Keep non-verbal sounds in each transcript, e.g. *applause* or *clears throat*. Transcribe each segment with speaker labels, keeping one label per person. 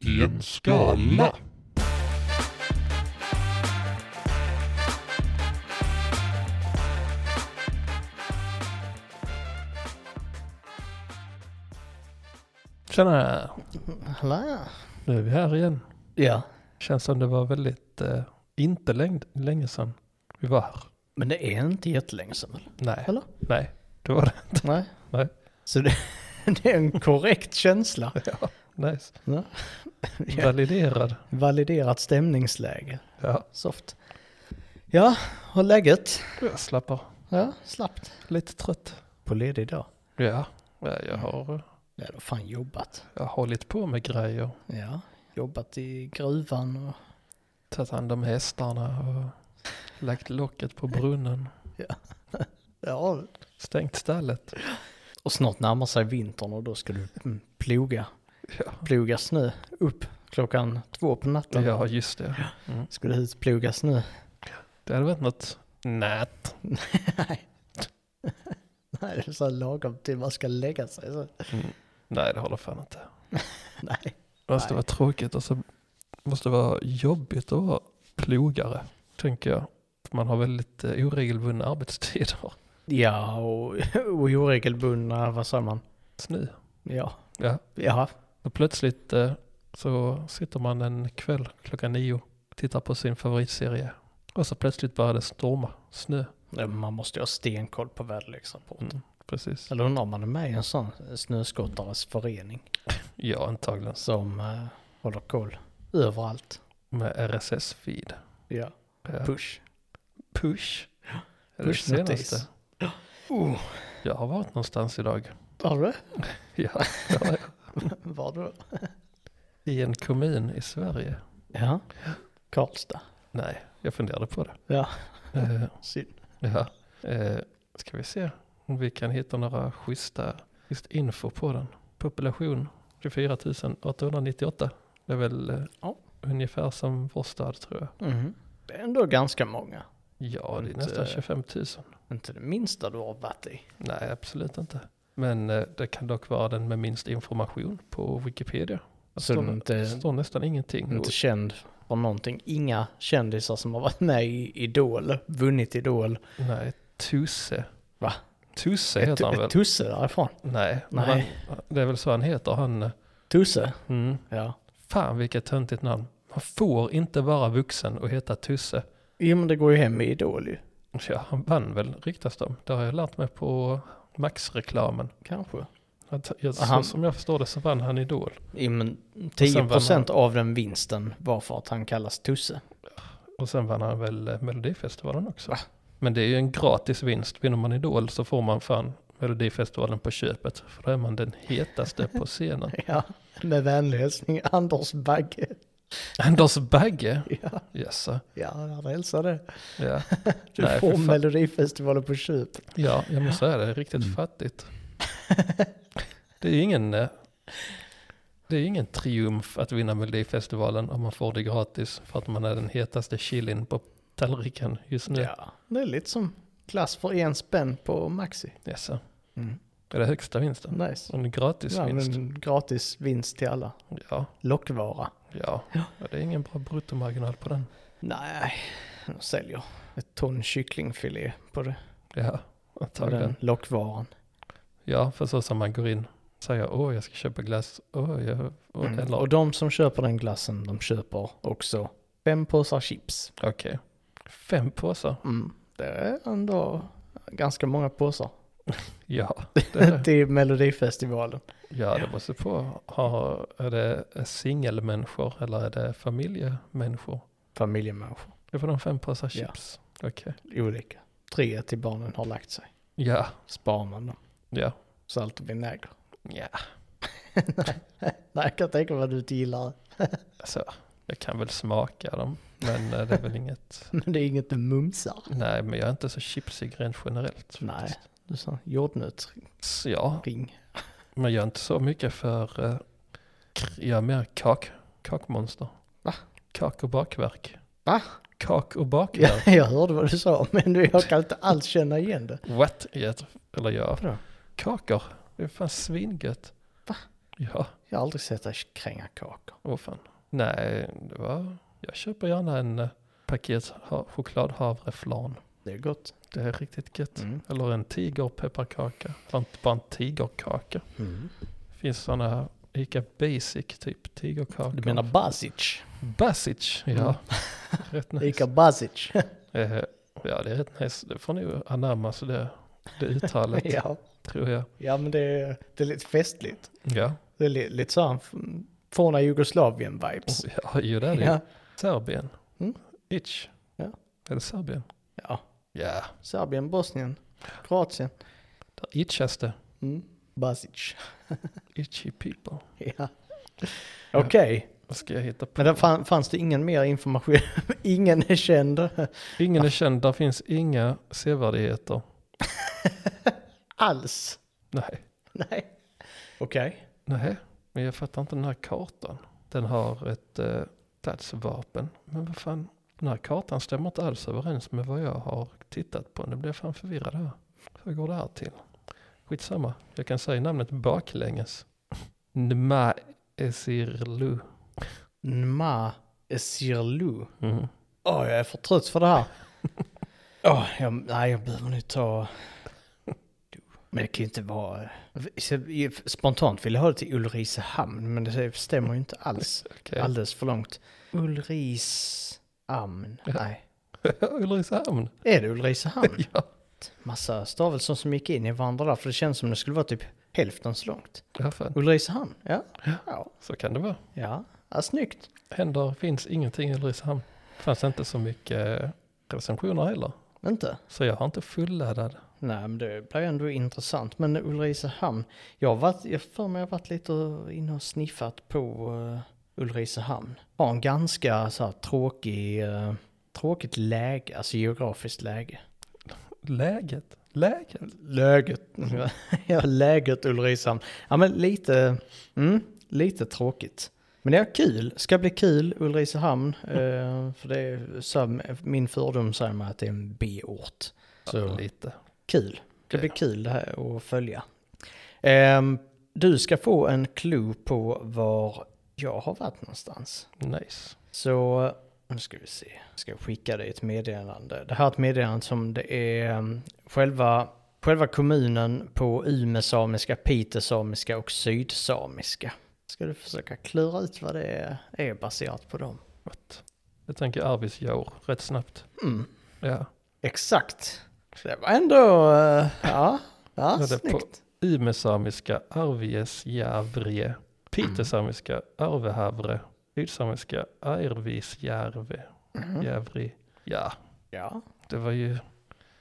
Speaker 1: i en skala.
Speaker 2: Tjena!
Speaker 3: Hallå?
Speaker 2: Nu är vi här igen.
Speaker 3: Ja,
Speaker 2: Känns som det var väldigt, eh, inte läng- länge sedan vi var här.
Speaker 3: men det är inte jättelänge sedan väl?
Speaker 2: Nej.
Speaker 3: Eller?
Speaker 2: Nej, det var det.
Speaker 3: Nej.
Speaker 2: Nej.
Speaker 3: Så det, *laughs* det är en
Speaker 2: *laughs*
Speaker 3: korrekt känsla.
Speaker 2: Nice.
Speaker 3: Ja.
Speaker 2: *laughs*
Speaker 3: Ja.
Speaker 2: Validerad.
Speaker 3: Validerat stämningsläge.
Speaker 2: Ja,
Speaker 3: Soft. Ja, och läget?
Speaker 2: jag slappar.
Speaker 3: Ja, slappt.
Speaker 2: Lite trött.
Speaker 3: På ledig dag?
Speaker 2: Ja, ja, jag har,
Speaker 3: Ja, då fan jobbat.
Speaker 2: jag har hållit på med grejer.
Speaker 3: Ja, jobbat i gruvan och...
Speaker 2: Tagit hand om hästarna och lagt locket på brunnen.
Speaker 3: Ja,
Speaker 2: Stängt stallet.
Speaker 3: och snart närmar sig vintern och då ska du mm, ploga.
Speaker 2: Ja.
Speaker 3: Ploga snö upp klockan två på natten.
Speaker 2: Ja, just det. Mm.
Speaker 3: Ska du hit ploga snö? *laughs*
Speaker 2: Det hade varit något nät.
Speaker 3: Nej. Nej, det är så här lagom till man ska lägga sig. Så.
Speaker 2: Mm. Nej, det håller fan inte.
Speaker 3: *laughs* Nej.
Speaker 2: Det måste
Speaker 3: Nej.
Speaker 2: vara tråkigt och så måste det vara jobbigt att vara plogare, tänker jag. För Man har väldigt eh, oregelbundna arbetstider. *laughs*
Speaker 3: Ja, och, *laughs* och oregelbundna, vad sa man?
Speaker 2: Snö.
Speaker 3: Ja.
Speaker 2: Ja.
Speaker 3: Ja.
Speaker 2: Och plötsligt eh, så sitter man en kväll klockan nio och tittar på sin favoritserie. Och så plötsligt börjar det storma. Snö.
Speaker 3: Ja, Man måste ju ha stenkoll på väderleksrapporten.
Speaker 2: Mm, precis.
Speaker 3: Eller undrar om man är med i en sån snöskottares förening
Speaker 2: Ja, antagligen.
Speaker 3: som eh, håller koll överallt.
Speaker 2: Med RSS-feed.
Speaker 3: Ja.
Speaker 2: Ja.
Speaker 3: Push.
Speaker 2: Eh, Push. Är det
Speaker 3: Push
Speaker 2: senaste?
Speaker 3: notis. *gasps* Oh.
Speaker 2: Jag har varit någonstans
Speaker 3: *laughs*
Speaker 2: idag.
Speaker 3: Var
Speaker 2: *laughs*
Speaker 3: du?
Speaker 2: Ja, det har jag.
Speaker 3: Var du?
Speaker 2: I en kommun i Sverige.
Speaker 3: Ja. Karlstad.
Speaker 2: Nej, jag funderade på det.
Speaker 3: Ja.
Speaker 2: *laughs* Eh,
Speaker 3: Synd.
Speaker 2: Ja. Eh, ska vi se om vi kan hitta några schyssta schysst info på den. Population 24 898. Det är väl eh,
Speaker 3: Ja.
Speaker 2: ungefär som vår stad tror jag.
Speaker 3: Mhm. Det är ändå ganska många.
Speaker 2: Ja, det är
Speaker 3: Inte-
Speaker 2: nästan 25 000.
Speaker 3: Inte det minsta du har varit i.
Speaker 2: Nej, absolut inte. Men eh, det kan dock vara den med minst information på Wikipedia. Det
Speaker 3: Så den
Speaker 2: står, det
Speaker 3: inte,
Speaker 2: står nästan ingenting.
Speaker 3: inte känd för någonting. Inga kändisar som har varit med i Idol, vunnit Idol.
Speaker 2: Nej, Tusse.
Speaker 3: Va?
Speaker 2: Tusse
Speaker 3: Ett,
Speaker 2: heter han väl?
Speaker 3: ett Tusse därifrån.
Speaker 2: Nej, men
Speaker 3: Nej.
Speaker 2: Han, det är väl så han heter. Han, eh,
Speaker 3: Tusse?
Speaker 2: mm,
Speaker 3: Ja.
Speaker 2: Fan vilket töntigt namn. Man får inte vara vuxen och heta Tusse.
Speaker 3: Jo men det går ju hem i Idol ju.
Speaker 2: Ja, han vann väl ryktas de. Det har jag lärt mig på Max-reklamen.
Speaker 3: Kanske.
Speaker 2: Att- jag- Så
Speaker 3: Aha.
Speaker 2: som jag förstår det så vann han Idol.
Speaker 3: Jo men
Speaker 2: sen
Speaker 3: 10%
Speaker 2: vann han.
Speaker 3: av den vinsten var för att han kallas Tusse.
Speaker 2: Och sen vann han väl eh, Melodifestivalen också. Men det är ju en gratis vinst. Vinner man Idol så får man fan Melodifestivalen på köpet. För då är man den hetaste på
Speaker 3: *laughs*
Speaker 2: scenen.
Speaker 3: *laughs* Ja. Med vänlig hälsning Anders Bagge.
Speaker 2: Anders Bagge?
Speaker 3: Ja,
Speaker 2: Yes.
Speaker 3: ja jag hälsar det.
Speaker 2: Ja.
Speaker 3: Du
Speaker 2: Nej, fy
Speaker 3: får
Speaker 2: fan.
Speaker 3: Melodifestivalen på köp.
Speaker 2: Ja, jag måste säga det. är Riktigt
Speaker 3: Mm. *laughs*
Speaker 2: fattigt. Det är ju ingen, eh, det är ju ingen triumf att vinna Melodifestivalen om man får det gratis för att man är den hetaste chilin på tallriken just nu.
Speaker 3: Ja. Det är lite som klass för en spänn på Maxi.
Speaker 2: Yes.
Speaker 3: Mm.
Speaker 2: Det är det högsta vinsten.
Speaker 3: Nice.
Speaker 2: Och en gratis
Speaker 3: Ja,
Speaker 2: vinst.
Speaker 3: men gratis vinst till alla.
Speaker 2: Ja,
Speaker 3: Lockvara.
Speaker 2: ja. ja, det är ingen bra bruttomarginal på den.
Speaker 3: Nej, de säljer ett ton kycklingfilé på det.
Speaker 2: Ja,
Speaker 3: På den
Speaker 2: antagligen.
Speaker 3: lockvaran.
Speaker 2: Ja, för så som man går in säger åh, jag ska köpa glass. Åh, jag, åh,
Speaker 3: Mm.
Speaker 2: eller
Speaker 3: Och de som köper den glassen, de köper också fem påsar chips.
Speaker 2: okej. Fem påsar.
Speaker 3: Mm. Det är ändå ganska många påsar.
Speaker 2: Ja,
Speaker 3: *laughs*
Speaker 2: det är det.
Speaker 3: till Melodifestivalen.
Speaker 2: Ja, det måste på. Har, är det singelmänniskor eller är det familjemänniskor?
Speaker 3: Familjemänniskor.
Speaker 2: Det får de fem påsar
Speaker 3: Ja.
Speaker 2: chips. Okej.
Speaker 3: Olika. Tre till barnen har lagt sig.
Speaker 2: Ja,
Speaker 3: Sparar man dem.
Speaker 2: ja.
Speaker 3: Salt och vinäger.
Speaker 2: Ja,
Speaker 3: *laughs* Nej, jag kan tänka mig att du inte gillar det.
Speaker 2: alltså jag kan väl smaka dem. Men eh, det är väl inget.
Speaker 3: Men det är inget du mumsar.
Speaker 2: Nej, men jag är inte så chipsig rent generellt.
Speaker 3: Nej,
Speaker 2: faktiskt.
Speaker 3: du sa jordnötsring.
Speaker 2: Så, ja, men jag är inte så mycket för, eh, kr- jag är mer kak, kakmonster.
Speaker 3: Va?
Speaker 2: Kak och bakverk.
Speaker 3: Va?
Speaker 2: Kak och bakverk.
Speaker 3: Ja, *laughs* jag hörde vad du sa, men du, jag kan inte alls känna igen det.
Speaker 2: What? Jag, tr- eller ja.
Speaker 3: Vadå?
Speaker 2: Kakor. Det är fan svingött.
Speaker 3: Va?
Speaker 2: Ja,
Speaker 3: Jag har aldrig sett dig kränga kakor.
Speaker 2: åh fan. Nej, det var... Jag köper gärna en eh, paket ha- chokladhavreflan.
Speaker 3: Det är gott.
Speaker 2: Det är riktigt gött.
Speaker 3: Mm.
Speaker 2: Eller en tigerpepparkaka. Eller inte bara en tigerkaka.
Speaker 3: Mm.
Speaker 2: finns sådana Ica Basic typ tigerkakor.
Speaker 3: Du menar Basic?
Speaker 2: Basic? Ja. *laughs* rätt nice.
Speaker 3: Ica *laughs* Basic.
Speaker 2: Eh, ja, det är rätt nice. Det får nog anammas det, det uttalet,
Speaker 3: *laughs* ja.
Speaker 2: tror jag.
Speaker 3: ja, men det är, det är lite festligt.
Speaker 2: Ja,
Speaker 3: Det är li, lite så här forna Jugoslavien-vibes.
Speaker 2: ja ju det är det.
Speaker 3: Ja.
Speaker 2: Serbien.
Speaker 3: Mm.
Speaker 2: Itch.
Speaker 3: Ja.
Speaker 2: Är det Serbien?
Speaker 3: ja.
Speaker 2: Ja,
Speaker 3: Serbien, Bosnien, Kroatien.
Speaker 2: där itchas det.
Speaker 3: Mm. Basic. *laughs*
Speaker 2: Itchy people.
Speaker 3: Ja. Okej,
Speaker 2: Vad ska jag hitta på?
Speaker 3: men där fann, fanns det ingen mer information? *laughs* ingen är känd.
Speaker 2: Ingen är känd, där finns inga sevärdheter.
Speaker 3: Alls. *laughs*
Speaker 2: Nej,
Speaker 3: Nej. Okej.
Speaker 2: nej. Men jag fattar inte den här kartan. Den har ett eh, platsvapen. Men vad fan, den här kartan stämmer inte alls överens med vad jag har tittat på. Nu blir jag fan förvirrad här. Hur går det här till? Skitsamma, jag kan säga namnet baklänges. Nma Esirlu.
Speaker 3: Nma Esirlu.
Speaker 2: Mm.
Speaker 3: Åh, jag är för trött för det här. Åh, jag, nej, jag behöver nu ta... Men det kan ju inte vara... Spontant vill jag ha det till Ulricehamn, men det stämmer ju inte alls.
Speaker 2: Okej.
Speaker 3: Alldeles för långt. Ulricehamn. Nej.
Speaker 2: *laughs* Ulricehamn.
Speaker 3: Är det Ulricehamn?
Speaker 2: *laughs* Ja.
Speaker 3: Massa stavelser som gick in i varandra där, för det känns som det skulle vara typ hälften så långt.
Speaker 2: Ja, fan.
Speaker 3: Ulricehamn, ja. Ja,
Speaker 2: Så kan det vara.
Speaker 3: ja. ja snyggt.
Speaker 2: Händer finns ingenting i Ulricehamn. Fanns inte så mycket eh, recensioner heller.
Speaker 3: Inte?
Speaker 2: Så jag har inte fulladdad.
Speaker 3: Nej, men det blir ändå intressant. Men Ulricehamn, jag har varit, jag för mig har varit lite inne och sniffat på uh, Ulricehamn. Har en ganska så här, tråkig, eh, tråkigt läge, alltså geografiskt läge.
Speaker 2: Läget? Läget?
Speaker 3: Läget? *laughs* ja, läget Ulricehamn. Ja, men lite, mm, lite tråkigt. Men det är kul, ska bli kul Ulricehamn. eh, för det är, så här, min fördom säger mig att det är en B-ort.
Speaker 2: Så. Lite.
Speaker 3: Kul. Det blir kul det här att följa. Ehm, du ska få en clue på var jag har varit någonstans.
Speaker 2: Nice.
Speaker 3: Så nu ska vi se. Jag ska skicka dig ett meddelande. Det här är ett meddelande som det är ehm, själva, själva kommunen på umesamiska, pitesamiska och sydsamiska. Ska du försöka klura ut vad det är baserat på dem?
Speaker 2: What? Jag tänker Arvidsjaur rätt snabbt.
Speaker 3: Mm,
Speaker 2: Ja.
Speaker 3: exakt. Det var ändå... eh, ja, ja
Speaker 2: det är på-
Speaker 3: snyggt.
Speaker 2: Umesamiska, Arviesjärvre, Pitesamiska, Arvehavre, Sydsamiska, Arvisjärve, Jävri. Ja,
Speaker 3: Ja.
Speaker 2: det var ju...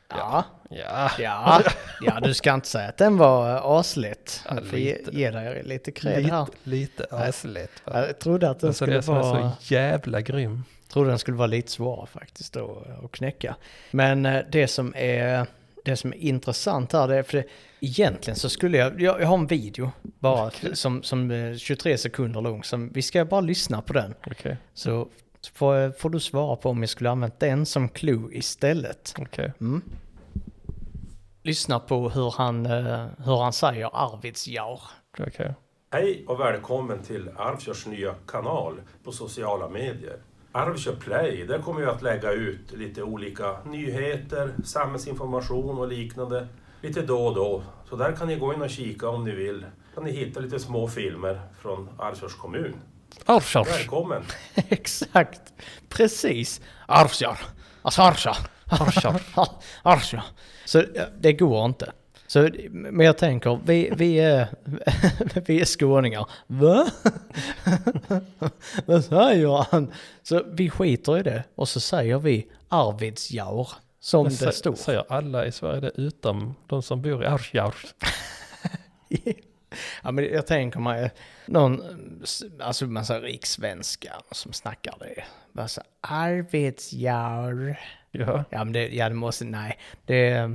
Speaker 3: Ja,
Speaker 2: Ja,
Speaker 3: ja,
Speaker 2: *laughs*
Speaker 3: ja, du ska inte säga att den var eh, aslätt.
Speaker 2: Ja,
Speaker 3: Jag får ge,
Speaker 2: lite.
Speaker 3: ge dig lite cred här.
Speaker 2: lite, lite aslätt. va?
Speaker 3: Jag trodde att den
Speaker 2: Alltså det
Speaker 3: skulle
Speaker 2: är som är
Speaker 3: vara...
Speaker 2: så jävla grym.
Speaker 3: trodde den skulle vara lite svårare faktiskt då eh, att knäcka. Men eh, det som är, det som är intressant här, det är för det, egentligen så skulle jag, jag, jag har en video bara som, som är 23 sekunder lång, som, vi ska bara lyssna på den.
Speaker 2: Okej,
Speaker 3: Så får, eh, får du svara på om jag skulle ha använt den som clue istället.
Speaker 2: okej.
Speaker 3: Lyssna på hur han, eh, hur han säger Arvidsjaur.
Speaker 2: Okej.
Speaker 1: Hej och välkommen till Arvskörs nya kanal på sociala medier. Arvsjö Play, där kommer vi att lägga ut lite olika nyheter, samhällsinformation och liknande lite då och då. Så där kan ni gå in och kika om ni vill. Kan ni hitta lite små filmer från Arvsjörs kommun.
Speaker 2: Arvsjaur.
Speaker 1: Välkommen!
Speaker 3: *laughs* Exakt, precis. Arvsjaur. Alltså Arvsjaur. *laughs*
Speaker 2: Arvsjaur.
Speaker 3: Arvsjaur. Så eh, det går inte. Så, men jag tänker, vi, vi, är, *laughs* vi är skåningar. Va? *laughs* Vad säger han? Så vi skiter i det och så säger vi Arvidsjaur som det står.
Speaker 2: Säger alla i Sverige det utom de som bor i Arvsjaur.
Speaker 3: *laughs* ja, men jag tänker mig någon, alltså man säger rikssvenskar som snackar det. Vad så Arvidsjaur.
Speaker 2: Ja,
Speaker 3: Ja, men det, ja, det måste, nej. Det,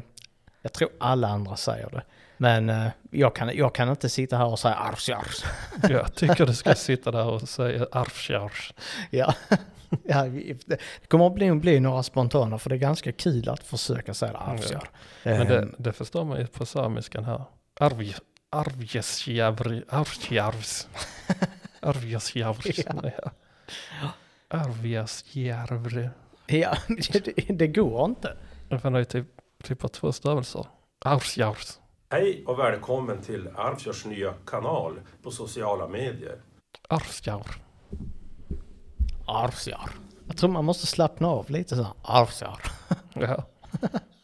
Speaker 3: jag tror alla andra säger det. Men eh, jag, kan, jag kan inte sitta här och säga ars, ars.
Speaker 2: jag tycker du ska sitta där och säga Arvsjaur.
Speaker 3: *laughs* ja. *laughs* ja, vi- det kommer att bli, bli några spontana för det är ganska kul att försöka säga ars,
Speaker 2: Ja.
Speaker 3: ars.
Speaker 2: Men det, det förstår man ju på samiskan här. Arv, Arvjesjärv, Arvjärvs. Arvjesjärvs. Arvjesjärv.
Speaker 3: *laughs* Ja, *laughs* det, det går inte.
Speaker 2: Den fan har ju typ, typ har två stavelser. Arvsjärvs.
Speaker 1: Hej och välkommen till Arvfjords nya kanal på sociala medier.
Speaker 2: Arvsjärv.
Speaker 3: Arvsjar. Jag tror man måste slappna av lite så här. Arvsjar.
Speaker 2: Ja.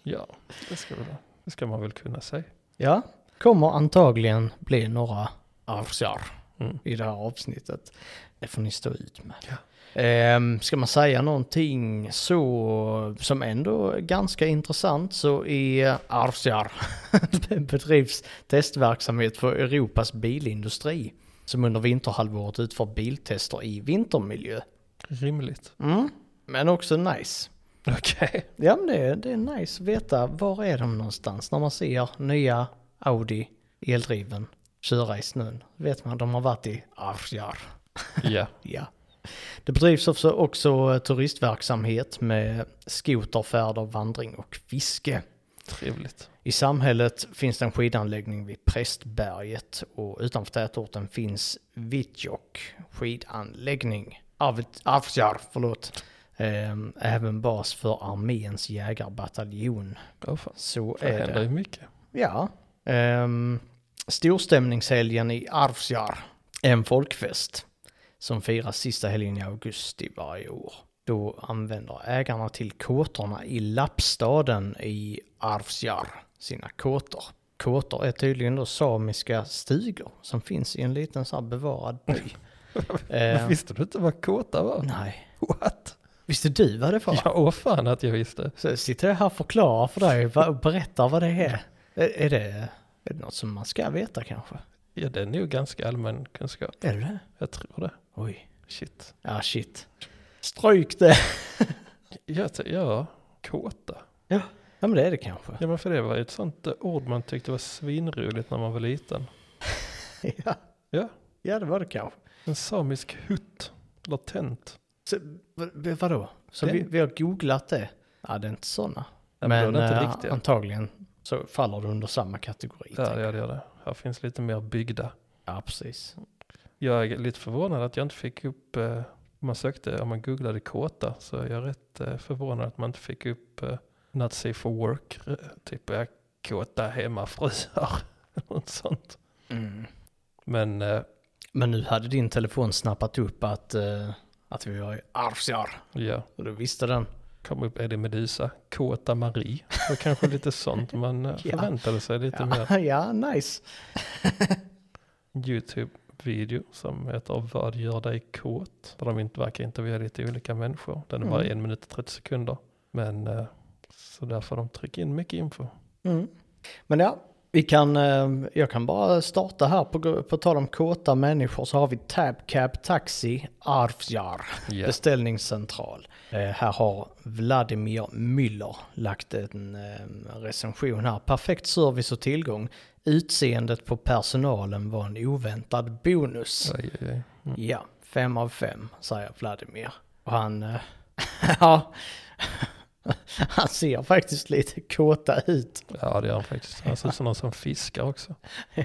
Speaker 2: ja, det ska, väl, det ska man väl kunna säga.
Speaker 3: Ja, kommer antagligen bli några arvsjar
Speaker 2: Mm.
Speaker 3: i det här avsnittet. Det får ni stå ut med.
Speaker 2: Ja.
Speaker 3: Ehm, ska man säga någonting så som ändå är ganska intressant så i *laughs* Arvsjar bedrivs testverksamhet för Europas bilindustri som under vinterhalvåret utför biltester i vintermiljö.
Speaker 2: Rimligt.
Speaker 3: Mm. Men också nice.
Speaker 2: Okej.
Speaker 3: Ja men det är, det är nice att veta var är de någonstans när man ser nya Audi eldriven köra i snön. Vet man de har varit i Arvsjar.
Speaker 2: Ja.
Speaker 3: Ja. Det bedrivs också, också turistverksamhet med skoterfärder, vandring och fiske.
Speaker 2: Trevligt.
Speaker 3: I samhället finns det en skidanläggning vid Prästberget och utanför tätorten finns Vittjok skidanläggning. Arvid- Arvsjar, förlåt. Ehm, Även bas för arméns jägarbataljon.
Speaker 2: Åh fan.
Speaker 3: Så
Speaker 2: Det
Speaker 3: är
Speaker 2: händer Eh.
Speaker 3: det.
Speaker 2: ju mycket.
Speaker 3: Ja. Um, storstämningshelgen i Arvsjar. En folkfest som firas sista helgen i augusti varje år. Då använder ägarna till kåtorna i Lappstaden i Arvsjar sina kåtor. Kåtor är tydligen då samiska stugor som finns i en liten så här bevarad *laughs* by. Ehm,
Speaker 2: Visste du inte vad kåta var?
Speaker 3: nej.
Speaker 2: What?
Speaker 3: Visste du vad det var?
Speaker 2: Ja, åh fan att jag visste.
Speaker 3: Så sitter jag här och förklarar för dig va- och berättar vad det är.
Speaker 2: Mm.
Speaker 3: Är, är, det, är det något som man ska veta kanske?
Speaker 2: Ja, det är nog ganska allmän kunskap.
Speaker 3: Är det det?
Speaker 2: Jag tror det.
Speaker 3: Oj.
Speaker 2: Shit.
Speaker 3: Ja, shit. Stryk det.
Speaker 2: Ja, t- ja kåta.
Speaker 3: Ja, men det är det kanske.
Speaker 2: Ja, men för det var ju ett sånt eh, ord man tyckte var svinroligt när man var liten.
Speaker 3: Ja,
Speaker 2: Ja,
Speaker 3: ja det var det kanske.
Speaker 2: en samisk hutt. Eller tent.
Speaker 3: Så, v- v- vadå? Så
Speaker 2: Den-
Speaker 3: vi, vi har googlat det? Ja, det är inte sådana.
Speaker 2: Ja,
Speaker 3: men
Speaker 2: men då är det inte
Speaker 3: eh,
Speaker 2: riktiga.
Speaker 3: antagligen så faller det under samma kategori.
Speaker 2: Ja,
Speaker 3: tänker jag.
Speaker 2: ja, det gör det. Här finns lite mer byggda.
Speaker 3: ja precis.
Speaker 2: Jag är lite förvånad att jag inte fick upp, eh, om man sökte, om man googlade kåta, så jag är rätt eh, förvånad att man inte fick upp eh, not safe for work, eh, typ eh, kåta hemmafruar, *laughs* något sånt.
Speaker 3: Mm.
Speaker 2: Men eh,
Speaker 3: Men nu hade din telefon snappat upp att, eh, att vi var i Arvsjar.
Speaker 2: ja,
Speaker 3: Och då visste den.
Speaker 2: kom upp Eddie Meduza, kåta Marie, och kanske lite sånt man eh,
Speaker 3: *laughs* Ja.
Speaker 2: förväntade sig lite mer.
Speaker 3: Ja, *laughs* ja nice.
Speaker 2: YouTube-video som heter Vad gör dig kåt? Där de inte verkar intervjua lite olika människor. Den är bara
Speaker 3: Mm.
Speaker 2: en minut och 30 sekunder. Men eh, så där får de trycka in mycket info.
Speaker 3: Mm. Men ja, vi kan, eh, jag kan bara starta här på, på tal om kåta människor så har vi TabCab Taxi Arvsjar
Speaker 2: Ja,
Speaker 3: beställningscentral. Eh, här har Vladimir Müller lagt en eh, recension här. Perfekt service och tillgång. Utseendet på personalen var en oväntad bonus.
Speaker 2: Aj, aj, aj. Mm.
Speaker 3: Ja, fem av fem säger Vladimir. Och han, eh, *laughs* ja, *laughs* han ser faktiskt lite kåta ut.
Speaker 2: ja det gör han faktiskt. Han ser ut som någon som fiskar också.
Speaker 3: Ja,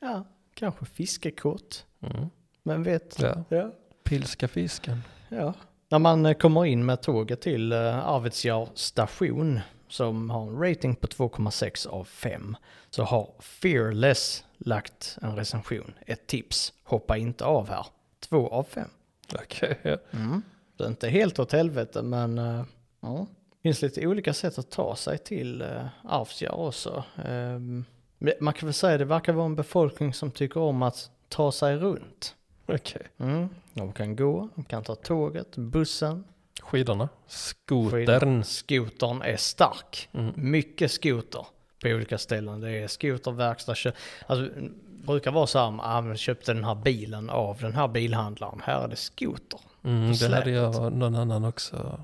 Speaker 3: ja kanske fiskekort.
Speaker 2: Mm.
Speaker 3: Men vet.
Speaker 2: Ja.
Speaker 3: Ja.
Speaker 2: Pilska fisken.
Speaker 3: ja. När man eh, kommer in med tåget till eh, Arvidsjaur station som har en rating på 2,6 av 5 så har Fearless lagt en recension, ett tips. Hoppa inte av här. 2 av 5.
Speaker 2: Okej, ja.
Speaker 3: Mm. Det är inte helt åt helvete men eh, ja. Det finns lite olika sätt att ta sig till uh, Arvsjaur också. Ehm, men man kan väl säga att det verkar vara en befolkning som tycker om att ta sig runt.
Speaker 2: Okej.
Speaker 3: Mm. De kan gå, de kan ta tåget, bussen.
Speaker 2: Skidorna. Skotern.
Speaker 3: Skidorna. Skotern är stark.
Speaker 2: Mm.
Speaker 3: Mycket skoter på olika ställen. Det är skoterverkstad. kö- Alltså, det brukar vara så här, ah, men köpte den här bilen av den här bilhandlaren. Här är det skoter.
Speaker 2: Mm, det hade
Speaker 3: släpet.
Speaker 2: jag och någon annan också.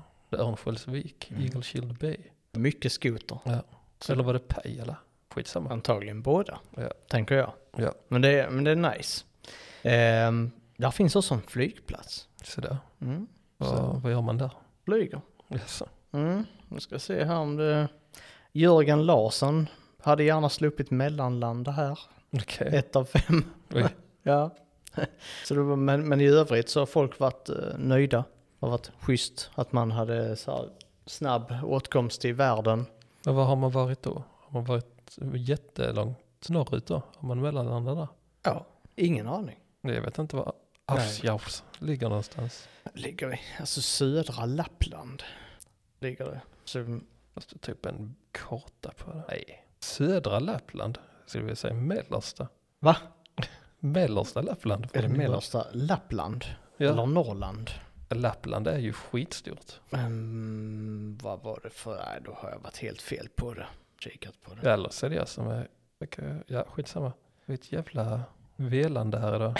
Speaker 2: Örnsköldsvik, Eagleshield Bay.
Speaker 3: Mycket skoter.
Speaker 2: Eller var det Pajala? Skitsamma.
Speaker 3: Antagligen båda,
Speaker 2: Ja.
Speaker 3: tänker jag.
Speaker 2: Ja,
Speaker 3: Men det, är- men det är nice. Ehm, där finns också en flygplats.
Speaker 2: sådär.
Speaker 3: Mm.
Speaker 2: Vad, vad gör man där?
Speaker 3: Flyger.
Speaker 2: Jaså?
Speaker 3: Mm, nu ska jag se här om det... Jörgen Larsson hade gärna sluppit mellanlanda här.
Speaker 2: Okej.
Speaker 3: Ett av fem.
Speaker 2: Oj.
Speaker 3: *laughs* Ja. Så det var, men, men i övrigt så har folk varit eh, nöjda. Det har varit schysst att man hade så här, snabb åtkomst till världen.
Speaker 2: Men var har man varit då? Har man varit jättelångt norrut då? Har man mellanlandat där?
Speaker 3: Ja. Ingen aning.
Speaker 2: Nej, Jag vet inte var
Speaker 3: Nej.
Speaker 2: Arvsjaurs ligger någonstans.
Speaker 3: Ligger i, alltså södra Lappland. Ligger det. Så,
Speaker 2: Måste ta upp typ en karta på det. Nej. Södra Lappland, skulle vi säga mellersta.
Speaker 3: va?
Speaker 2: Mellersta Lappland.
Speaker 3: Är det mellersta Lappland? Eller
Speaker 2: Ja.
Speaker 3: Norrland?
Speaker 2: Lappland är ju skitstort.
Speaker 3: Ehm, vad var det för? Nej, då har jag varit helt fel på det. Kikat på det.
Speaker 2: Eller så är det jag som är... okej, Ja, skitsamma. Det är ett jävla velande här
Speaker 3: *laughs*
Speaker 2: idag.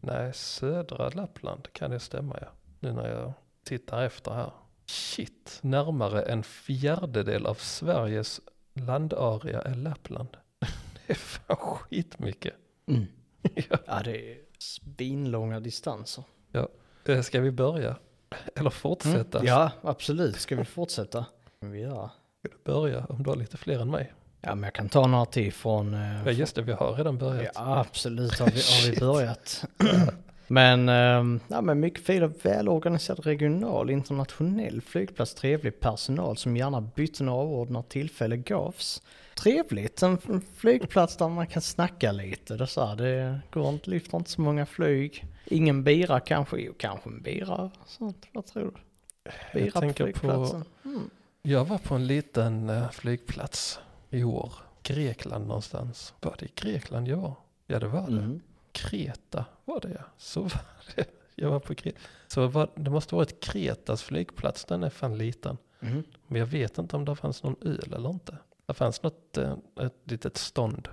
Speaker 2: Nej, södra Lappland kan det stämma ja. Nu när jag tittar efter här. Shit, närmare en fjärdedel av Sveriges landarea är Lappland. *laughs* Det är fan skitmycket.
Speaker 3: Mm.
Speaker 2: *laughs* Ja.
Speaker 3: Ja, det är svinlånga distanser.
Speaker 2: Eh, Ska vi börja? Eller fortsätta?
Speaker 3: Mm. Ja, absolut. Ska vi fortsätta? Kan vi göra.
Speaker 2: Ska du börja om du har lite fler än mig?
Speaker 3: Ja, men jag kan ta några till från... eh,
Speaker 2: Ja just det, vi har redan
Speaker 3: ja,
Speaker 2: börjat.
Speaker 3: absolut har vi, har vi
Speaker 2: Shit.
Speaker 3: börjat. men, ehm, ja, men mycket fina, välorganiserad regional, internationell flygplats, trevlig personal som gärna bytte några ord när tillfälle gavs. Trevligt, en f- flygplats där man kan snacka lite. Det, är så här, det går inte, lyfter inte så många flyg. Ingen bira kanske, jo kanske en bira. Sånt, vad tror du? Bira på
Speaker 2: tänker på-
Speaker 3: flygplatsen. Mm.
Speaker 2: Jag var på en liten eh, flygplats i år. Grekland någonstans. Var det i Grekland jag var? Ja det var det.
Speaker 3: Mm.
Speaker 2: Kreta var det ja. Så var det. Jag var på Kreta. Så var, det måste varit Kretas flygplats. Den är fan liten.
Speaker 3: Mm.
Speaker 2: Men jag vet inte om det fanns någon öl eller inte. Det fanns något, eh, ett litet stånd.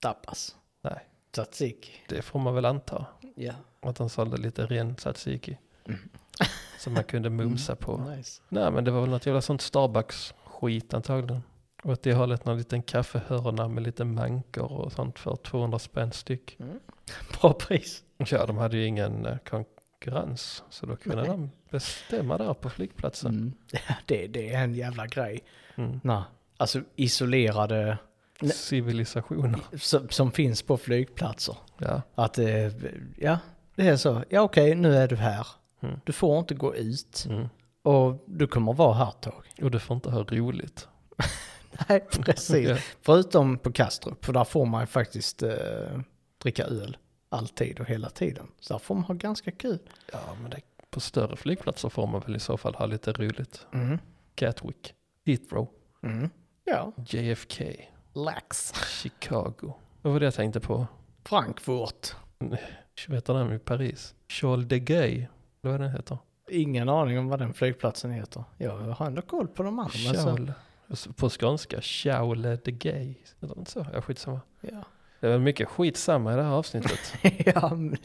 Speaker 3: Tapas.
Speaker 2: Nej.
Speaker 3: Tzatziki.
Speaker 2: Det får man väl anta.
Speaker 3: Ja.
Speaker 2: Att de sålde lite ren tzatziki.
Speaker 3: Mm.
Speaker 2: *laughs* Som man kunde mumsa på.
Speaker 3: Nice.
Speaker 2: Nej men det var väl något jävla sånt Starbucks-skit antagligen. Och att det har någon liten kaffehörna med lite mankor och sånt för 200 spänn styck.
Speaker 3: Mm. Bra pris.
Speaker 2: Ja, de hade ju ingen eh, konkurrens. Så då kunde
Speaker 3: Nej.
Speaker 2: de bestämma där på flygplatsen.
Speaker 3: Alltså. Det, det är en jävla grej.
Speaker 2: Mm.
Speaker 3: Nej. Alltså isolerade Nej.
Speaker 2: Civilisationer.
Speaker 3: som, som finns på flygplatser.
Speaker 2: Ja.
Speaker 3: Att eh, ja, det är så. Ja okej, nu är du här.
Speaker 2: Mm.
Speaker 3: Du får inte gå ut
Speaker 2: Mm.
Speaker 3: och du kommer vara här ett tag. *laughs*
Speaker 2: Och du får inte ha roligt.
Speaker 3: Nej,
Speaker 2: *laughs*
Speaker 3: precis.
Speaker 2: Ja.
Speaker 3: Förutom på Kastrup, för där får man ju faktiskt eh, dricka öl alltid och hela tiden. Så där får man ha ganska kul.
Speaker 2: Ja, men det, på större flygplatser får man väl i så fall ha lite roligt.
Speaker 3: Mm.
Speaker 2: Gatwick, Heathrow,
Speaker 3: Mm. Ja,
Speaker 2: JFK,
Speaker 3: lax.
Speaker 2: Chicago. Vad var det jag tänkte på?
Speaker 3: Frankfurt.
Speaker 2: Vet du den i Paris? Charles de Gaulle. Vad är den heter?
Speaker 3: Ingen aning om vad den flygplatsen heter. Jag har ändå koll på de andra. men så-
Speaker 2: Charles. Alltså, På skånska, Charles de Gaulle. Heter det inte så? Ja, skitsamma.
Speaker 3: Ja,
Speaker 2: Det var mycket skitsamma i det här avsnittet.
Speaker 3: *laughs* ja, men,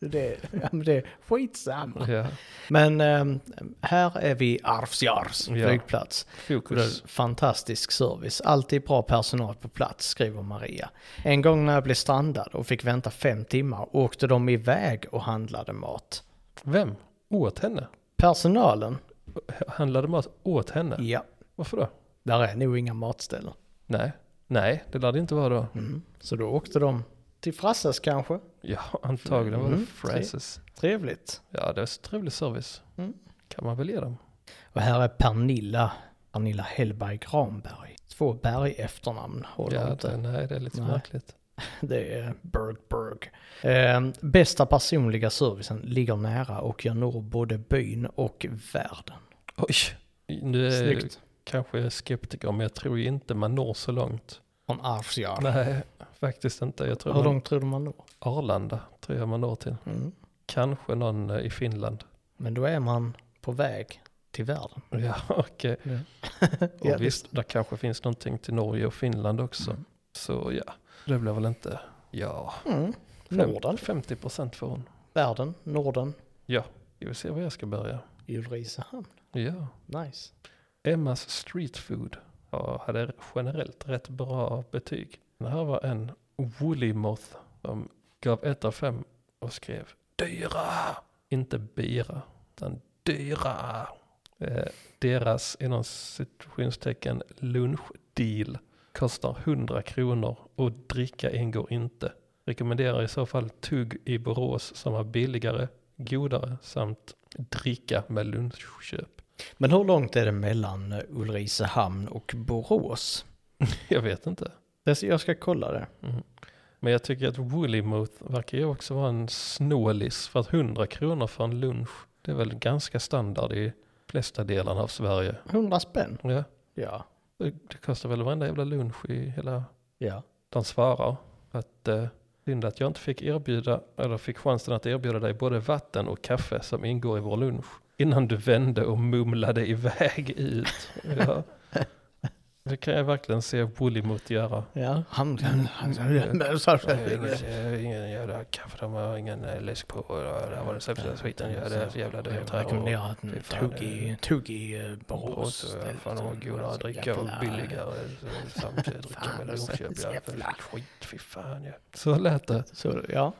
Speaker 3: det, ja men det är skitsamma.
Speaker 2: ja.
Speaker 3: Men ehm, här är vi i Arvsjars
Speaker 2: Ja.
Speaker 3: flygplats. Och det
Speaker 2: Fokus.
Speaker 3: är fantastisk service. Alltid bra personal på plats, skriver Maria. En gång när jag blev strandad och fick vänta fem timmar åkte de iväg och handlade mat.
Speaker 2: Vem? Åt henne?
Speaker 3: Personalen?
Speaker 2: Handlade mat åt henne?
Speaker 3: Ja,
Speaker 2: Varför då?
Speaker 3: där är nog inga matställen.
Speaker 2: Nej. Nej, det lär det inte vara då.
Speaker 3: Mm. Så då åkte de till Frassas kanske.
Speaker 2: Ja, antagligen var det
Speaker 3: Mm,
Speaker 2: Francis.
Speaker 3: Trevligt.
Speaker 2: Ja, det är så trevlig service.
Speaker 3: Mm.
Speaker 2: Kan man väl ge dem.
Speaker 3: Och här är Pernilla, Pernilla Hellberg Granberg. Två berg efternamn håller
Speaker 2: Ja, det,
Speaker 3: inte.
Speaker 2: nej, det är lite
Speaker 3: Nej.
Speaker 2: märkligt.
Speaker 3: Det är Berg Berg. Ehm, bästa personliga servicen ligger nära och jag når både byn och världen.
Speaker 2: Oj, nu är
Speaker 3: Snyggt.
Speaker 2: kanske jag är skeptiker, men jag tror ju inte man når så långt.
Speaker 3: Från Arvsjaur.
Speaker 2: Nej, faktiskt inte. Jag tror
Speaker 3: Hur
Speaker 2: man,
Speaker 3: långt tror du man når?
Speaker 2: Arlanda tror jag man når till.
Speaker 3: Mm.
Speaker 2: Kanske någon eh, i Finland.
Speaker 3: Men då är man på väg till världen.
Speaker 2: Ja, *laughs* okej.
Speaker 3: Mm. Ja.
Speaker 2: Och
Speaker 3: Ja,
Speaker 2: visst, där kanske finns någonting till Norge och Finland också. Så ja, det blir väl inte, ja,
Speaker 3: Mm.
Speaker 2: fem-
Speaker 3: Norden,
Speaker 2: 50 procent för hon.
Speaker 3: världen, Norden,
Speaker 2: Ska vi se var jag ska börja?
Speaker 3: Ulricehamn.
Speaker 2: Ja,
Speaker 3: Nice.
Speaker 2: Emmas Street Food ja, hade generellt rätt bra betyg. Det här var en Woolly Moth som gav ett av fem och skrev dyra, inte bira, utan dyra. Eh, deras inom citationstecken lunchdeal Kostar 100 kronor och dricka ingår inte. Rekommenderar i så fall tugg i Borås som är billigare, godare samt dricka med lunchköp.
Speaker 3: Men hur långt är det mellan Ulricehamn och Borås?
Speaker 2: Jag vet inte.
Speaker 3: Det- Jag ska kolla det.
Speaker 2: Men jag tycker att Woollymoth verkar ju också vara en snålis. För att 100 kronor för en lunch, det är väl ganska standard i flesta delarna av Sverige.
Speaker 3: 100 spänn?
Speaker 2: Ja,
Speaker 3: Ja.
Speaker 2: det, det kostar väl varenda jävla lunch i hela
Speaker 3: Ja.
Speaker 2: de svarar att eh, synd att jag inte fick erbjuda, eller fick chansen att erbjuda dig både vatten och kaffe som ingår i vår lunch. Innan du vände och mumlade iväg ut. Ja. Det kan jag verkligen se Woollimot göra.
Speaker 3: Ja. Han,
Speaker 2: Ingen jävla kaffe, de har ingen läsk på. Det här var den sämsta skiten. Ja, det är så jävla dyrt.
Speaker 3: Jag rekommenderar att tugg i, tugg i eh, Borås. Det är
Speaker 2: Fan, de har
Speaker 3: så
Speaker 2: godare dricka och
Speaker 3: jävla-
Speaker 2: billigare.
Speaker 3: *laughs*
Speaker 2: Samtidigt dricka med
Speaker 3: det är så
Speaker 2: lunchköp.
Speaker 3: jävla-
Speaker 2: ja. Skit, fy fan ja. Så lät det.
Speaker 3: Så, ja.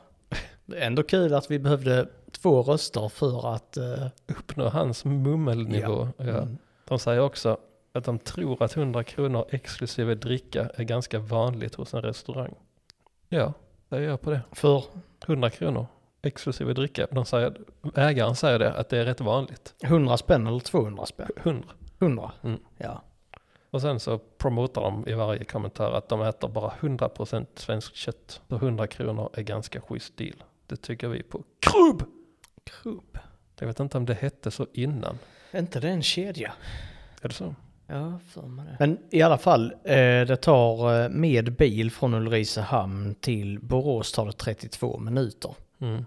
Speaker 3: Det är ändå kul att vi behövde två röster för att... eh,
Speaker 2: uppnå hans mummelnivå. Ja.
Speaker 3: mm.
Speaker 2: De säger också att de tror att 100 kronor exklusive dricka är ganska vanligt hos en restaurang. Ja, det gör jag på det.
Speaker 3: För
Speaker 2: 100 kronor exklusive dricka. De säger, ägaren säger det, att det är rätt vanligt.
Speaker 3: 100 spänn eller 200 spänn?
Speaker 2: 100.
Speaker 3: 100?
Speaker 2: Mm.
Speaker 3: Ja.
Speaker 2: Och sen så promotar de i varje kommentar att de äter bara 100% svenskt kött. Så 100 kronor är ganska schysst deal. Det tycker vi på Krubb!
Speaker 3: Krubb.
Speaker 2: Jag vet inte om det hette så innan.
Speaker 3: Är inte det en kedja?
Speaker 2: Är det så?
Speaker 3: Ja, för mig det. Men i alla fall, eh, det tar eh, med bil från Ulricehamn till Borås tar det 32 minuter.
Speaker 2: Mm.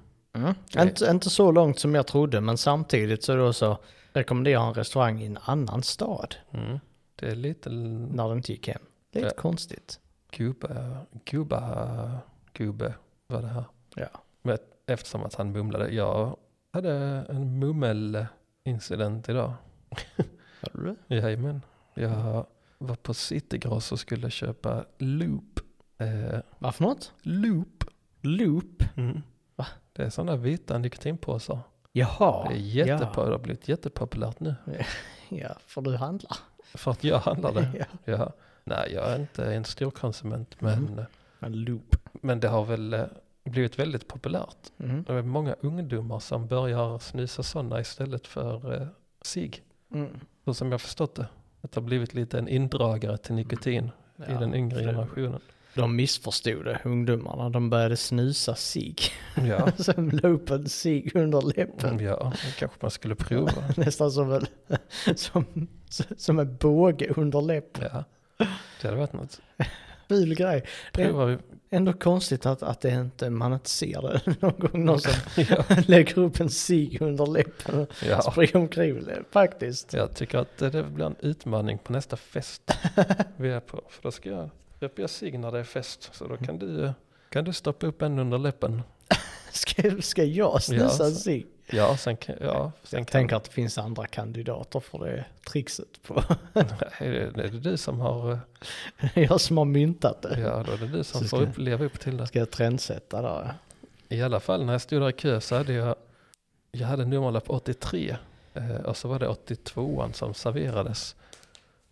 Speaker 3: Inte, inte så långt som jag trodde, men samtidigt så då så rekommenderar han restaurang i en annan stad
Speaker 2: Mm. Det är lite l-
Speaker 3: när den inte gick hem. Lite
Speaker 2: Ja.
Speaker 3: konstigt.
Speaker 2: Gubbe, gubba, gubbe var det här.
Speaker 3: Ja.
Speaker 2: Men eftersom att han mumlade, jag hade en mummelincident idag.
Speaker 3: Hörde du?
Speaker 2: Jajamän. Jag var på Citygross och skulle köpa loop. Eh,
Speaker 3: Vad för något?
Speaker 2: loop.
Speaker 3: Loop. Va?
Speaker 2: Det är sådana vita nikotinpåsar.
Speaker 3: Jaha.
Speaker 2: det, är jättepo- det har blivit jättepopulärt nu.
Speaker 3: Ja, ja, för du handlar.
Speaker 2: För att jag handlar det.
Speaker 3: *laughs* Ja.
Speaker 2: ja. Nej, jag är inte en stor konsument, men,
Speaker 3: Mm. En loop.
Speaker 2: men det har väl eh, blivit väldigt populärt.
Speaker 3: Mm.
Speaker 2: Det är många ungdomar som börjar snusa sådana istället för eh, cigg.
Speaker 3: Mm.
Speaker 2: Så som jag förstått det. Att det har blivit lite en indragare till nikotin i
Speaker 3: Mm. Ja,
Speaker 2: den yngre
Speaker 3: för- *laughs*
Speaker 2: generationen.
Speaker 3: De missförstod det, ungdomarna. De började snusa sig. *laughs*
Speaker 2: Ja, Mm.
Speaker 3: Sen loopen sig under läppen.
Speaker 2: ja kanske man skulle prova.
Speaker 3: *laughs* Nästan som en, som, som en båge under läppen.
Speaker 2: Ja. Det hade varit något.
Speaker 3: Ful grej. Det är
Speaker 2: Prova vi.
Speaker 3: ändå konstigt att, att det inte, man inte ser det *laughs* någon gång. Någon som *laughs*
Speaker 2: Ja,
Speaker 3: lägger upp en sig under läppen och
Speaker 2: ja.
Speaker 3: springer omkring med det. Faktiskt.
Speaker 2: Jag tycker att det det blir en utmaning på nästa fest vi är på. För då ska jag köpa jag cigg när det är fest. Så då kan du, eh, kan du stoppa upp en under läppen.
Speaker 3: *laughs* Ska, ska jag snusa
Speaker 2: Ja,
Speaker 3: en
Speaker 2: så-
Speaker 3: sig?
Speaker 2: Ja, sen kan, ja, *laughs* sen
Speaker 3: Jag
Speaker 2: kan
Speaker 3: tänker att det finns andra kandidater för det trixet. På. *laughs*
Speaker 2: Nej, det, det är du som har eh,
Speaker 3: Jag som har myntat det.
Speaker 2: Ja, då är det du som
Speaker 3: Så
Speaker 2: får
Speaker 3: ska-
Speaker 2: upp, leva upp till det.
Speaker 3: Ska jag trendsätta där? ja.
Speaker 2: I alla fall när jag stod där i kö så hade jag, jag hade en nummerlapp 83 eh, och så var det 82an som serverades.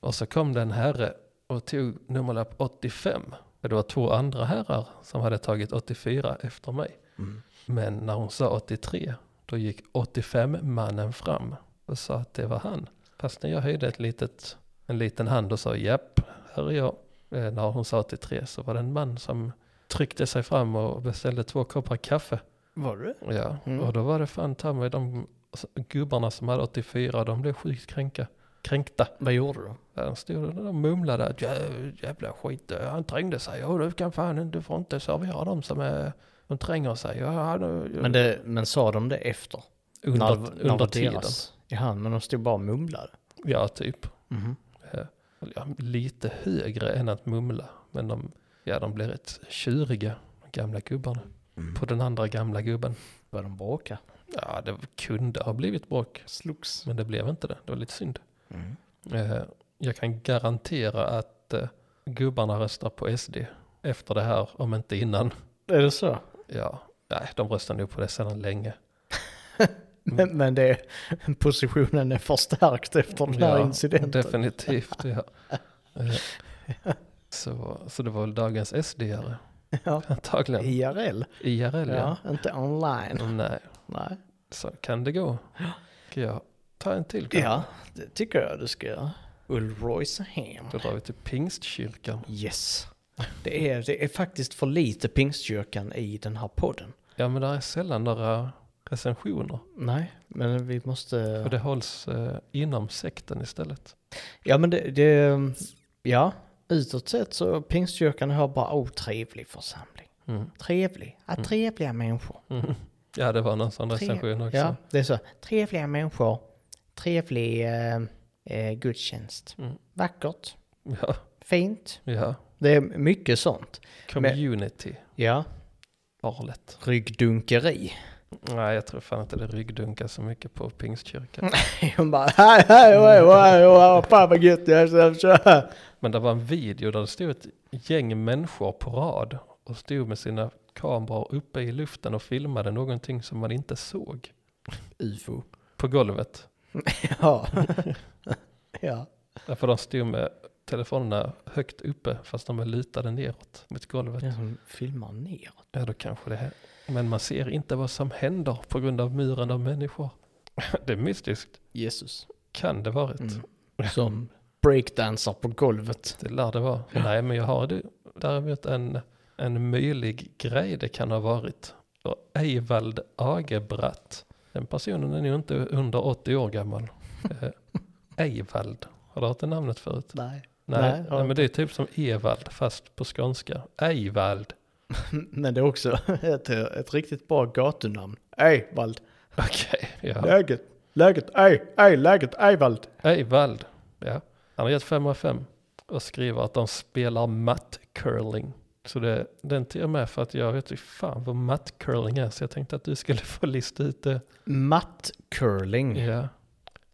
Speaker 2: Och så kom det en herre och tog nummerlapp 85. Det var två andra herrar som hade tagit 84 efter mig.
Speaker 3: Mm.
Speaker 2: Men när hon sa 83, då gick 85-mannen fram och sa att det var han. Fast när jag höjde ett litet, en liten hand och sa japp, här är jag. Eh, när hon sa 83 så var det en man som tryckte sig fram och beställde två koppar kaffe.
Speaker 3: Var du?
Speaker 2: Ja,
Speaker 3: Mm.
Speaker 2: och då var det fan ta mig de gubbarna som hade 84, de blev sjukt kränka, kränkta.
Speaker 3: Vad gjorde du?
Speaker 2: Ja, De stod och de mumlade att "Jä- jävla skit, eh, han trängde sig. Ja, du kan fan inte- du får inte servera dem som är, de tränger sig. Ja, han,
Speaker 3: Men, det, men sa de det efter?
Speaker 2: under,
Speaker 3: det var
Speaker 2: under tiden.
Speaker 3: deras. Jaha, men de stod bara och mumlade.
Speaker 2: Ja, typ.
Speaker 3: Mhm.
Speaker 2: Eh, Ja, lite högre än att mumla. Men de, ja, de blir rätt tjuriga, de gamla gubbarna. På den andra gamla gubben.
Speaker 3: Började de bråka?
Speaker 2: Ja, det kunde ha blivit bråk.
Speaker 3: Slogs.
Speaker 2: Men det blev inte det. Det var lite synd. Eh, Jag kan garantera att eh, gubbarna röstar på SD efter det här, om inte innan.
Speaker 3: Är det så?
Speaker 2: Ja, nej, de röstar nog på det sedan länge.
Speaker 3: Men, men det, *laughs* positionen *laughs* är förstärkt efter den här incidenten.
Speaker 2: Definitivt, ja. Eh, Så, så det var väl dagens SD-are
Speaker 3: Ja.
Speaker 2: *laughs* antagligen.
Speaker 3: IRL.
Speaker 2: IRL ja. Mm,
Speaker 3: Ja, inte online.
Speaker 2: Nej,
Speaker 3: Nej.
Speaker 2: så kan det gå. Ska jag ta en till kanske?
Speaker 3: Ja, det tycker jag du ska göra. Ulricehamn.
Speaker 2: Då drar vi till Pingstkyrkan.
Speaker 3: Yes. Det är, det är faktiskt för lite pingstkyrkan i den här podden.
Speaker 2: Ja men där är sällan några recensioner.
Speaker 3: Nej, men vi måste...
Speaker 2: Och det hålls eh, inom sekten istället.
Speaker 3: Ja, men det... det ja, utåt sett så pingstkyrkan har bara otrevlig församling.
Speaker 2: Mm.
Speaker 3: Trevlig. Ja, trevliga människor.
Speaker 2: Mm. *laughs* Ja det var någon sån
Speaker 3: Tre-
Speaker 2: recension också.
Speaker 3: Ja, det är så. Trevliga människor. Trevlig eh, eh, gudstjänst.
Speaker 2: Mm.
Speaker 3: Vackert.
Speaker 2: ja.
Speaker 3: Fint.
Speaker 2: ja.
Speaker 3: Det är mycket sånt.
Speaker 2: Community.
Speaker 3: Ja,
Speaker 2: Farligt.
Speaker 3: ryggdunkeri. *laughs*
Speaker 2: Nej jag tror fan inte det ryggdunkar så mycket på Pingstkyrkan.
Speaker 3: Hon bara hej, hej, oj, oj, oj, oj, fan vad gött jag ska köra.
Speaker 2: Men det var en video där det stod ett gäng människor på rad och stod med sina kameror uppe i luften och filmade någonting som man inte såg
Speaker 3: Ufo.
Speaker 2: på golvet.
Speaker 3: Ja. ja.
Speaker 2: Därför de stod med telefonerna högt uppe fast de var lutade neråt mot golvet.
Speaker 3: Den som filmar neråt.
Speaker 2: Ja, då kanske det är. Men man ser inte vad som händer på grund av muren av människor. *laughs* Det är mystiskt.
Speaker 3: Jesus.
Speaker 2: Kan det varit? Mm.
Speaker 3: *laughs* Som breakdansar på golvet.
Speaker 2: Det lär det vara. Nej, men jag har det. däremot en, en möjlig grej det kan ha varit. För Eivald Agebratt, den personen är nog inte under 80 år *laughs* gammal. Eh, Eivald, har du hört det namnet förut?
Speaker 3: Nej. *laughs*
Speaker 2: Nej,
Speaker 3: Nej,
Speaker 2: nej,
Speaker 3: har
Speaker 2: men det är typ som Evald fast på skånska. Eivald.
Speaker 3: Men det är också *laughs* ett, ett riktigt bra gatunamn. Eyvald.
Speaker 2: *laughs* Okej, ja.
Speaker 3: Läget. Läget. Ej, ej, läget. Eyvald.
Speaker 2: Eivald. Ja. Han har gett 5 av 5 och skriver att de spelar mattcurling. Så det, den till jag med för att jag vet ju fan vad mattcurling är så jag tänkte att du skulle *laughs* få lista ut det.
Speaker 3: Matt curling.
Speaker 2: Ja.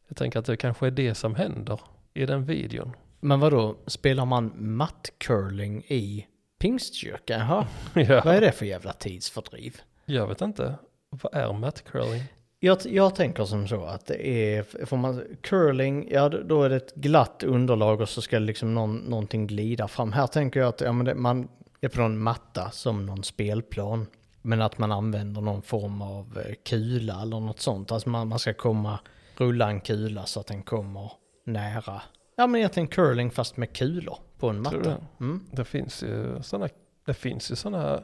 Speaker 2: Jag tänker att det kanske är det som händer i den videon.
Speaker 3: Men vadå, spelar man matt curling i pingstkyrkan? Jaha, vad
Speaker 2: ja.
Speaker 3: är det för jävla tidsfördriv?
Speaker 2: Jag vet inte. Vad är mattcurling?
Speaker 3: Jag, jag tänker som så att det är, får man curling, ja d- då är det ett glatt underlag och så ska liksom någon, någonting glida fram. Här tänker jag att ja, men det, man är på någon matta som någon spelplan. Men att man använder någon form av eh, kula eller något sånt. Alltså man, man ska komma, rulla en kula så att den kommer nära. Ja men egentligen curling fast med kulor på en
Speaker 2: Tror du
Speaker 3: matta.
Speaker 2: det?
Speaker 3: Mm.
Speaker 2: Det finns ju sådana det finns ju såna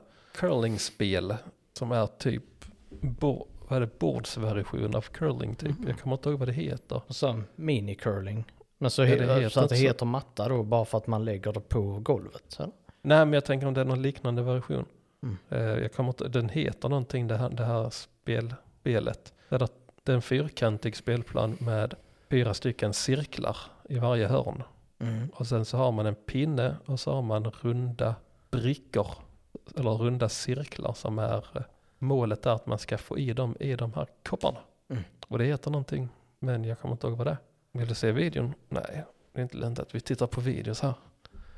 Speaker 2: curlingspel som är typ bo, vad är det, bordsversion av curling typ. Jag kommer inte ihåg vad det heter.
Speaker 3: Och så mini-curling. Men så,
Speaker 2: Ja,
Speaker 3: he-
Speaker 2: det heter
Speaker 3: så att det
Speaker 2: inte så.
Speaker 3: heter matta då bara för att man lägger det på golvet. Eller?
Speaker 2: Nej, men jag tänker om det är någon liknande version.
Speaker 3: Mm.
Speaker 2: Eh, Jag kommer inte, den heter någonting det här, det här spel, spelet. Det är, att det är en fyrkantig spelplan med fyra stycken cirklar i varje hörn. Och sen så har man en pinne och så har man runda brickor. Eller runda cirklar som är eh, målet är att man ska få i dem i de här kopparna.
Speaker 3: Mm.
Speaker 2: Och det heter någonting, men jag kommer inte ihåg vad det är. Vill du se videon? Nej, det är inte lönt att vi tittar på videos här.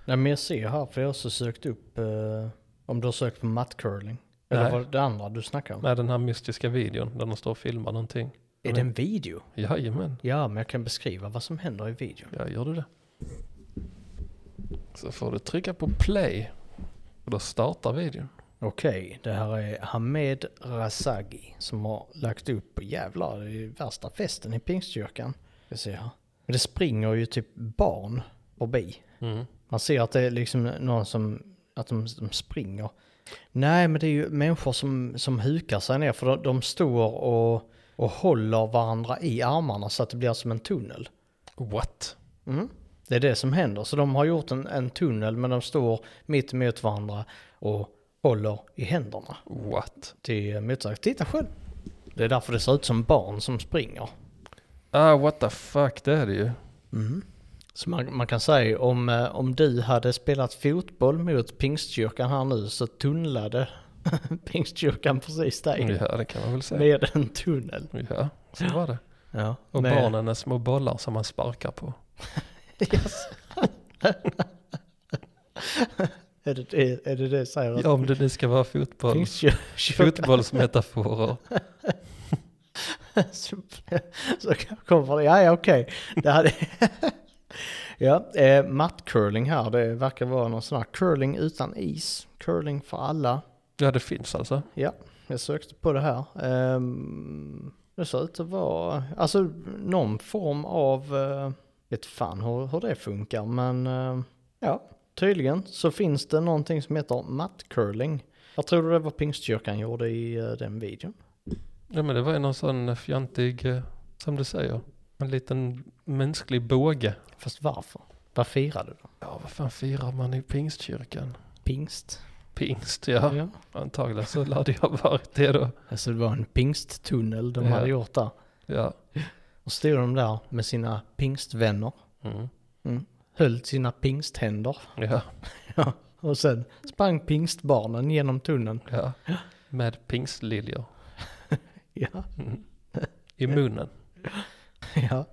Speaker 3: Nej men jag ser här, för jag har också sökt upp, eh, om du har sökt på mattcurling. Eller
Speaker 2: Nej.
Speaker 3: vad det andra du snackar om.
Speaker 2: Med den här mystiska videon där de står och filmar någonting.
Speaker 3: Är det en video?
Speaker 2: Jajamän,
Speaker 3: Ja, men jag kan beskriva vad som händer i videon.
Speaker 2: ja gör du det. Så får du trycka på play. Och då startar videon.
Speaker 3: Okej, det här är Hamed Razagi som har lagt upp, jävlar, det är ju värsta festen i pingstkyrkan. Ska se här. Men det springer ju typ barn förbi.
Speaker 2: Mm.
Speaker 3: Man ser att det är liksom någon som, att de, de springer. Nej, men det är ju människor som, som hukar sig ner för de, de står och, och håller varandra i armarna så att det blir som en tunnel.
Speaker 2: What?
Speaker 3: Mm. Det är det som händer. Så de har gjort en, en tunnel men de står mitt emot varandra och håller i händerna
Speaker 2: What?
Speaker 3: till motsatsen. Titta själv! Det är därför det ser ut som barn som springer.
Speaker 2: Ah, what the fuck, det är det ju.
Speaker 3: Så man, man kan säga om, eh, om du hade spelat fotboll mot pingstkyrkan här nu så tunnlade *laughs* pingstkyrkan precis dig
Speaker 2: Ja, det kan man väl säga.
Speaker 3: med en tunnel.
Speaker 2: Ja, så var det.
Speaker 3: Ja,
Speaker 2: Och
Speaker 3: med,
Speaker 2: barnen är små bollar som man sparkar på.
Speaker 3: Yes. är, det, är, är det det jag säger?
Speaker 2: Ja, om det nu ska vara fotboll.
Speaker 3: *laughs* Pingstkyrkan
Speaker 2: Fotbollsmetaforer.
Speaker 3: så, så kommer det, ja ja okej. Det hade, *laughs* Ja, eh, mattcurling här, det verkar vara någon sån här curling utan is. Curling för alla.
Speaker 2: Ja, det finns alltså.
Speaker 3: Ja, jag sökte på det här. Ehm, det ser ut att vara, alltså någon form av, eh, vet fan hur, hur det funkar, men eh, ja, tydligen så finns det någonting som heter mattcurling. Jag tror det var pingstkyrkan gjorde i eh, den videon.
Speaker 2: Ja, men det var ju någon sån fjantig, eh, som du säger, en liten mänsklig båge.
Speaker 3: Fast varför? Vad firar du då?
Speaker 2: Ja, vad fan firar man i pingstkyrkan?
Speaker 3: Pingst?
Speaker 2: Pingst, ja.
Speaker 3: ja.
Speaker 2: Antagligen så lade jag varit det då.
Speaker 3: Alltså det var en pingsttunnel de
Speaker 2: Ja.
Speaker 3: hade gjort där.
Speaker 2: Ja.
Speaker 3: Och stod de där med sina pingstvänner,
Speaker 2: Mm.
Speaker 3: höll sina pingsthänder.
Speaker 2: Ja,
Speaker 3: Ja, och sen sprang pingstbarnen genom tunneln.
Speaker 2: ja. Med pingstliljor Mm.
Speaker 3: Ja,
Speaker 2: i munnen.
Speaker 3: *laughs* ja.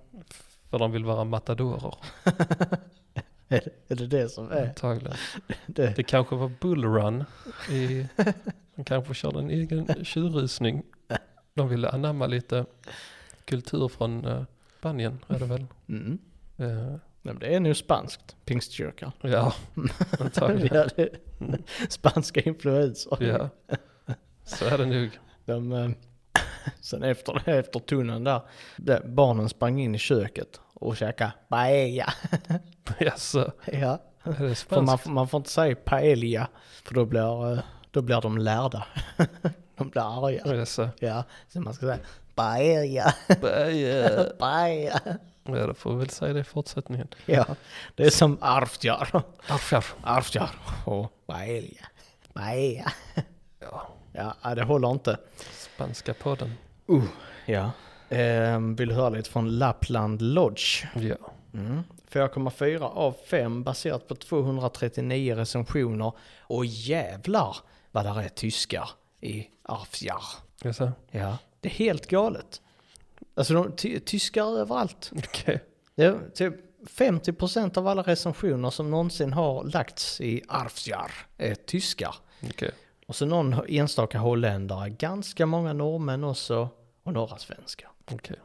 Speaker 2: För de vill vara matadorer,
Speaker 3: *laughs* Är det, är det det som är
Speaker 2: antagligen.
Speaker 3: det?
Speaker 2: Det kanske var bullrun. I, de kanske körde en egen tjurrusning. De ville anamma lite kultur från eh, Spanien, är det väl?
Speaker 3: Mm.
Speaker 2: Eh,
Speaker 3: Nej, men det är nog spanskt, *laughs* pingstkyrkan.
Speaker 2: ja, antagligen.
Speaker 3: Ja, det, spanska influenser.
Speaker 2: Ja, så är det nog.
Speaker 3: De, eh, *laughs* sen efter, efter tunneln där, där, barnen sprang in i köket och käkade paella. *laughs*
Speaker 2: Jaså,
Speaker 3: Ja,
Speaker 2: är det
Speaker 3: för man,
Speaker 2: spanskt?
Speaker 3: får- man får inte säga paella, för då blir, eh, då blir de lärda. *laughs* De blir arga.
Speaker 2: Jaså,
Speaker 3: Ja, så man ska säga paella, *laughs*
Speaker 2: Baja.
Speaker 3: paella.
Speaker 2: Ja, då får vi väl säga det i fortsättningen.
Speaker 3: Ja, det är som arvtjar.
Speaker 2: Arf, arf.
Speaker 3: Arvtjar och paella. Paella.
Speaker 2: Ja,
Speaker 3: Ja, nej, det håller inte.
Speaker 2: spanska podden.
Speaker 3: Uh, ja. Ehm, vill du höra lite från Lapland Lodge?
Speaker 2: Ja,
Speaker 3: 4,4 av 5 baserat på 239 recensioner. Och jävlar vad där är tyskar i Arvtjar.
Speaker 2: jaså,
Speaker 3: Ja. Det är helt galet. Alltså de, ty, tyskar överallt.
Speaker 2: okej.
Speaker 3: Det är typ 50% av alla recensioner som någonsin har lagts i Arvsjar är tyskar.
Speaker 2: Okej.
Speaker 3: Och så någon enstaka holländare, ganska många norrmän också och några svenskar.
Speaker 2: Okej.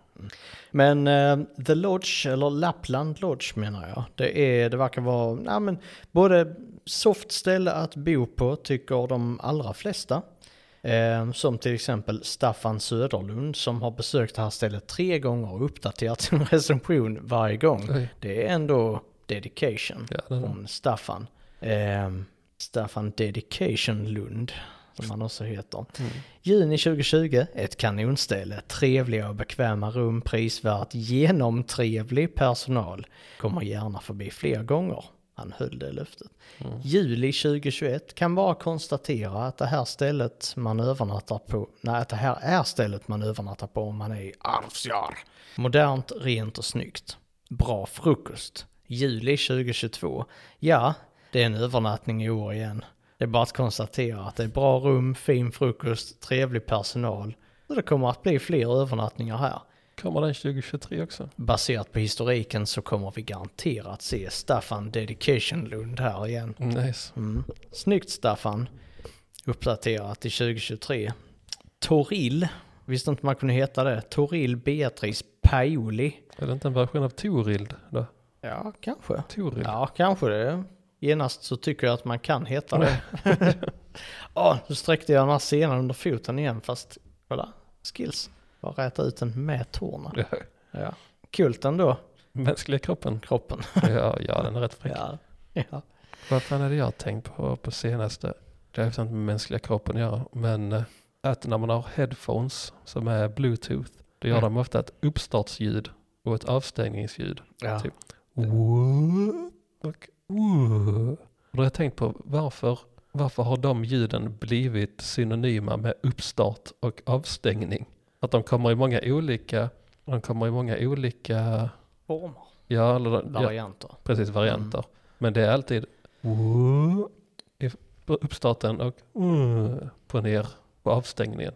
Speaker 3: Men eh, The Lodge, eller Lapland Lodge menar jag, det, är, det verkar vara nej, men både soft ställe att bo på tycker de allra flesta. Eh, som till exempel Staffan Söderlund som har besökt det här stället tre gånger och uppdaterat sin *laughs* recension varje gång.
Speaker 2: Oj.
Speaker 3: Det är ändå dedication
Speaker 2: Ja, det är det.
Speaker 3: från Staffan. Ehm, Staffan Dedication Lund, som han också heter. Juni 2020, ett kanonställe, trevliga och bekväma rum, prisvärt, genomtrevlig personal. Kommer gärna förbi fler gånger. Han höll det löftet. Juli 2021 kan bara konstatera att det här stället man övernattar på, nej att det här är stället man övernattar på om man är i Arvsjar. Modernt, rent och snyggt. Bra frukost. Juli 2022. Ja, det är en övernattning i år igen. Det är bara att konstatera att det är bra rum, fin frukost, trevlig personal. Så det kommer att bli fler övernattningar här.
Speaker 2: Kommer den 2023 också?
Speaker 3: Baserat på historiken så kommer vi garanterat se Staffan Dedication Lund här igen.
Speaker 2: Nice.
Speaker 3: Mm. Snyggt Staffan. Uppdaterat till 2023. Toril. Visste inte man kunde heta det. Toril Beatrice Paoli.
Speaker 2: Är det inte en version av Torild då?
Speaker 3: Ja, kanske.
Speaker 2: Torild?
Speaker 3: Ja, kanske det. Genast så tycker jag att man kan heta det. Ja, nu sträckte jag den här senan under foten igen fast kolla, skills. Bara räta ut den med tårna.
Speaker 2: Ja.
Speaker 3: Ja. Kult ändå,
Speaker 2: *laughs* Mänskliga kroppen? *laughs*
Speaker 3: kroppen.
Speaker 2: Ja, ja den är rätt fräck.
Speaker 3: Ja. ja.
Speaker 2: Vad fan hade jag tänkt på på senaste? Det har ju sånt med mänskliga kroppen att göra. Men eh, att när man har headphones som är bluetooth, då gör
Speaker 3: Mm.
Speaker 2: de ofta ett uppstartsljud och ett avstängningsljud.
Speaker 3: ja.
Speaker 2: Typ. Whoop Och whoop. Och då har jag tänkt på varför, varför har de ljuden blivit synonyma med uppstart och avstängning? Att de kommer i många olika, de kommer i många olika,
Speaker 3: Former,
Speaker 2: ja, eller, ja
Speaker 3: varianter. Mm.
Speaker 2: precis varianter. Men det är alltid whoop i f- på uppstarten och whoop på ner på avstängningen.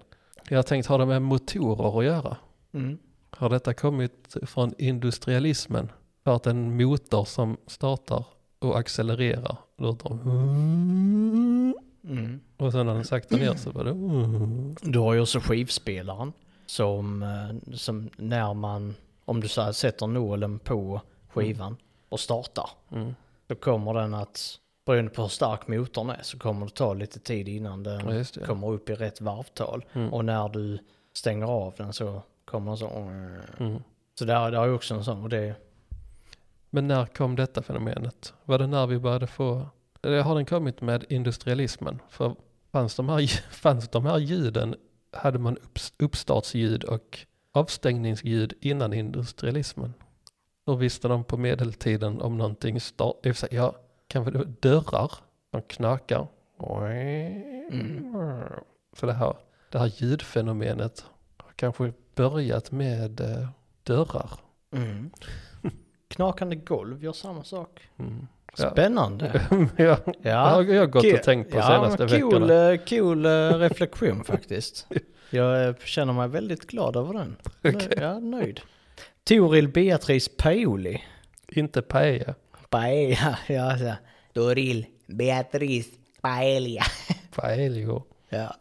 Speaker 2: Jag har tänkt, har det med motorer att göra?
Speaker 3: Mm.
Speaker 2: Har detta kommit från industrialismen? För att en motor som startar och accelererar låter de...
Speaker 3: Mm.
Speaker 2: Och sen när den saktar ner så bara det...
Speaker 3: Du har ju också skivspelaren som, eh, som när man, om du så här sätter nålen på skivan och startar.
Speaker 2: Mm.
Speaker 3: Då kommer den att, beroende på hur stark motorn är, så kommer det ta lite tid innan den
Speaker 2: Ja, just det.
Speaker 3: kommer upp i rätt varvtal.
Speaker 2: Mm.
Speaker 3: Och när du stänger av den så kommer den så...
Speaker 2: Mm.
Speaker 3: Så där, där är ju också en sån. Och det,
Speaker 2: Men när kom detta fenomenet? Var det när vi började få, eller har den kommit med industrialismen? För fanns de här, *laughs* lj- fanns de här ljuden, hade man upps- uppstartsljud och avstängningsljud innan industrialismen? Hur visste de på medeltiden om någonting start, i och för sig, ja, kanske det var dörrar, de knakar. Så det här, det här ljudfenomenet har kanske börjat med eh, dörrar.
Speaker 3: *laughs* Knakande golv gör samma sak.
Speaker 2: Mm. Ja.
Speaker 3: Spännande.
Speaker 2: *laughs* ja, Det har
Speaker 3: Ja.
Speaker 2: jag gått
Speaker 3: Kul.
Speaker 2: och tänkt på
Speaker 3: ja,
Speaker 2: senaste
Speaker 3: men cool,
Speaker 2: veckorna.
Speaker 3: eh, Cool eh,
Speaker 2: *laughs*
Speaker 3: reflektion faktiskt. Jag eh, känner mig väldigt glad över den.
Speaker 2: Okej.
Speaker 3: Jag är nöjd. Toril Beatrice Paoli.
Speaker 2: Inte paella.
Speaker 3: Paella, *laughs* ja. ja. Toril Beatrice Paella.
Speaker 2: Paelio.
Speaker 3: Ja.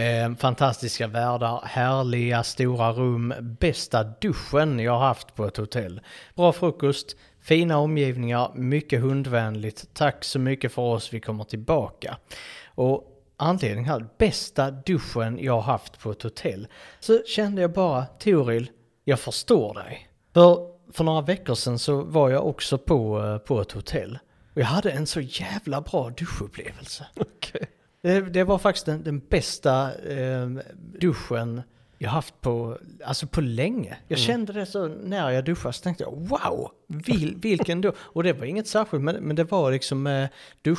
Speaker 3: Eh, fantastiska världar, härliga stora rum, bästa duschen jag har haft på ett hotell. Bra frukost, fina omgivningar, mycket hundvänligt. Tack så mycket för oss, vi kommer tillbaka. Och anledningen här, bästa duschen jag har haft på ett hotell. Så kände jag bara, Toril, jag förstår dig. För, för några veckor sedan så var jag också på, eh, på ett hotell. Och jag hade en så jävla bra duschupplevelse.
Speaker 2: Okej.
Speaker 3: Det, det var faktiskt den, den bästa eh, duschen jag haft på, alltså på länge. Jag kände det så när jag duschade så tänkte jag wow, vil, vilken dusch. Och det var inget särskilt men, men det var liksom eh,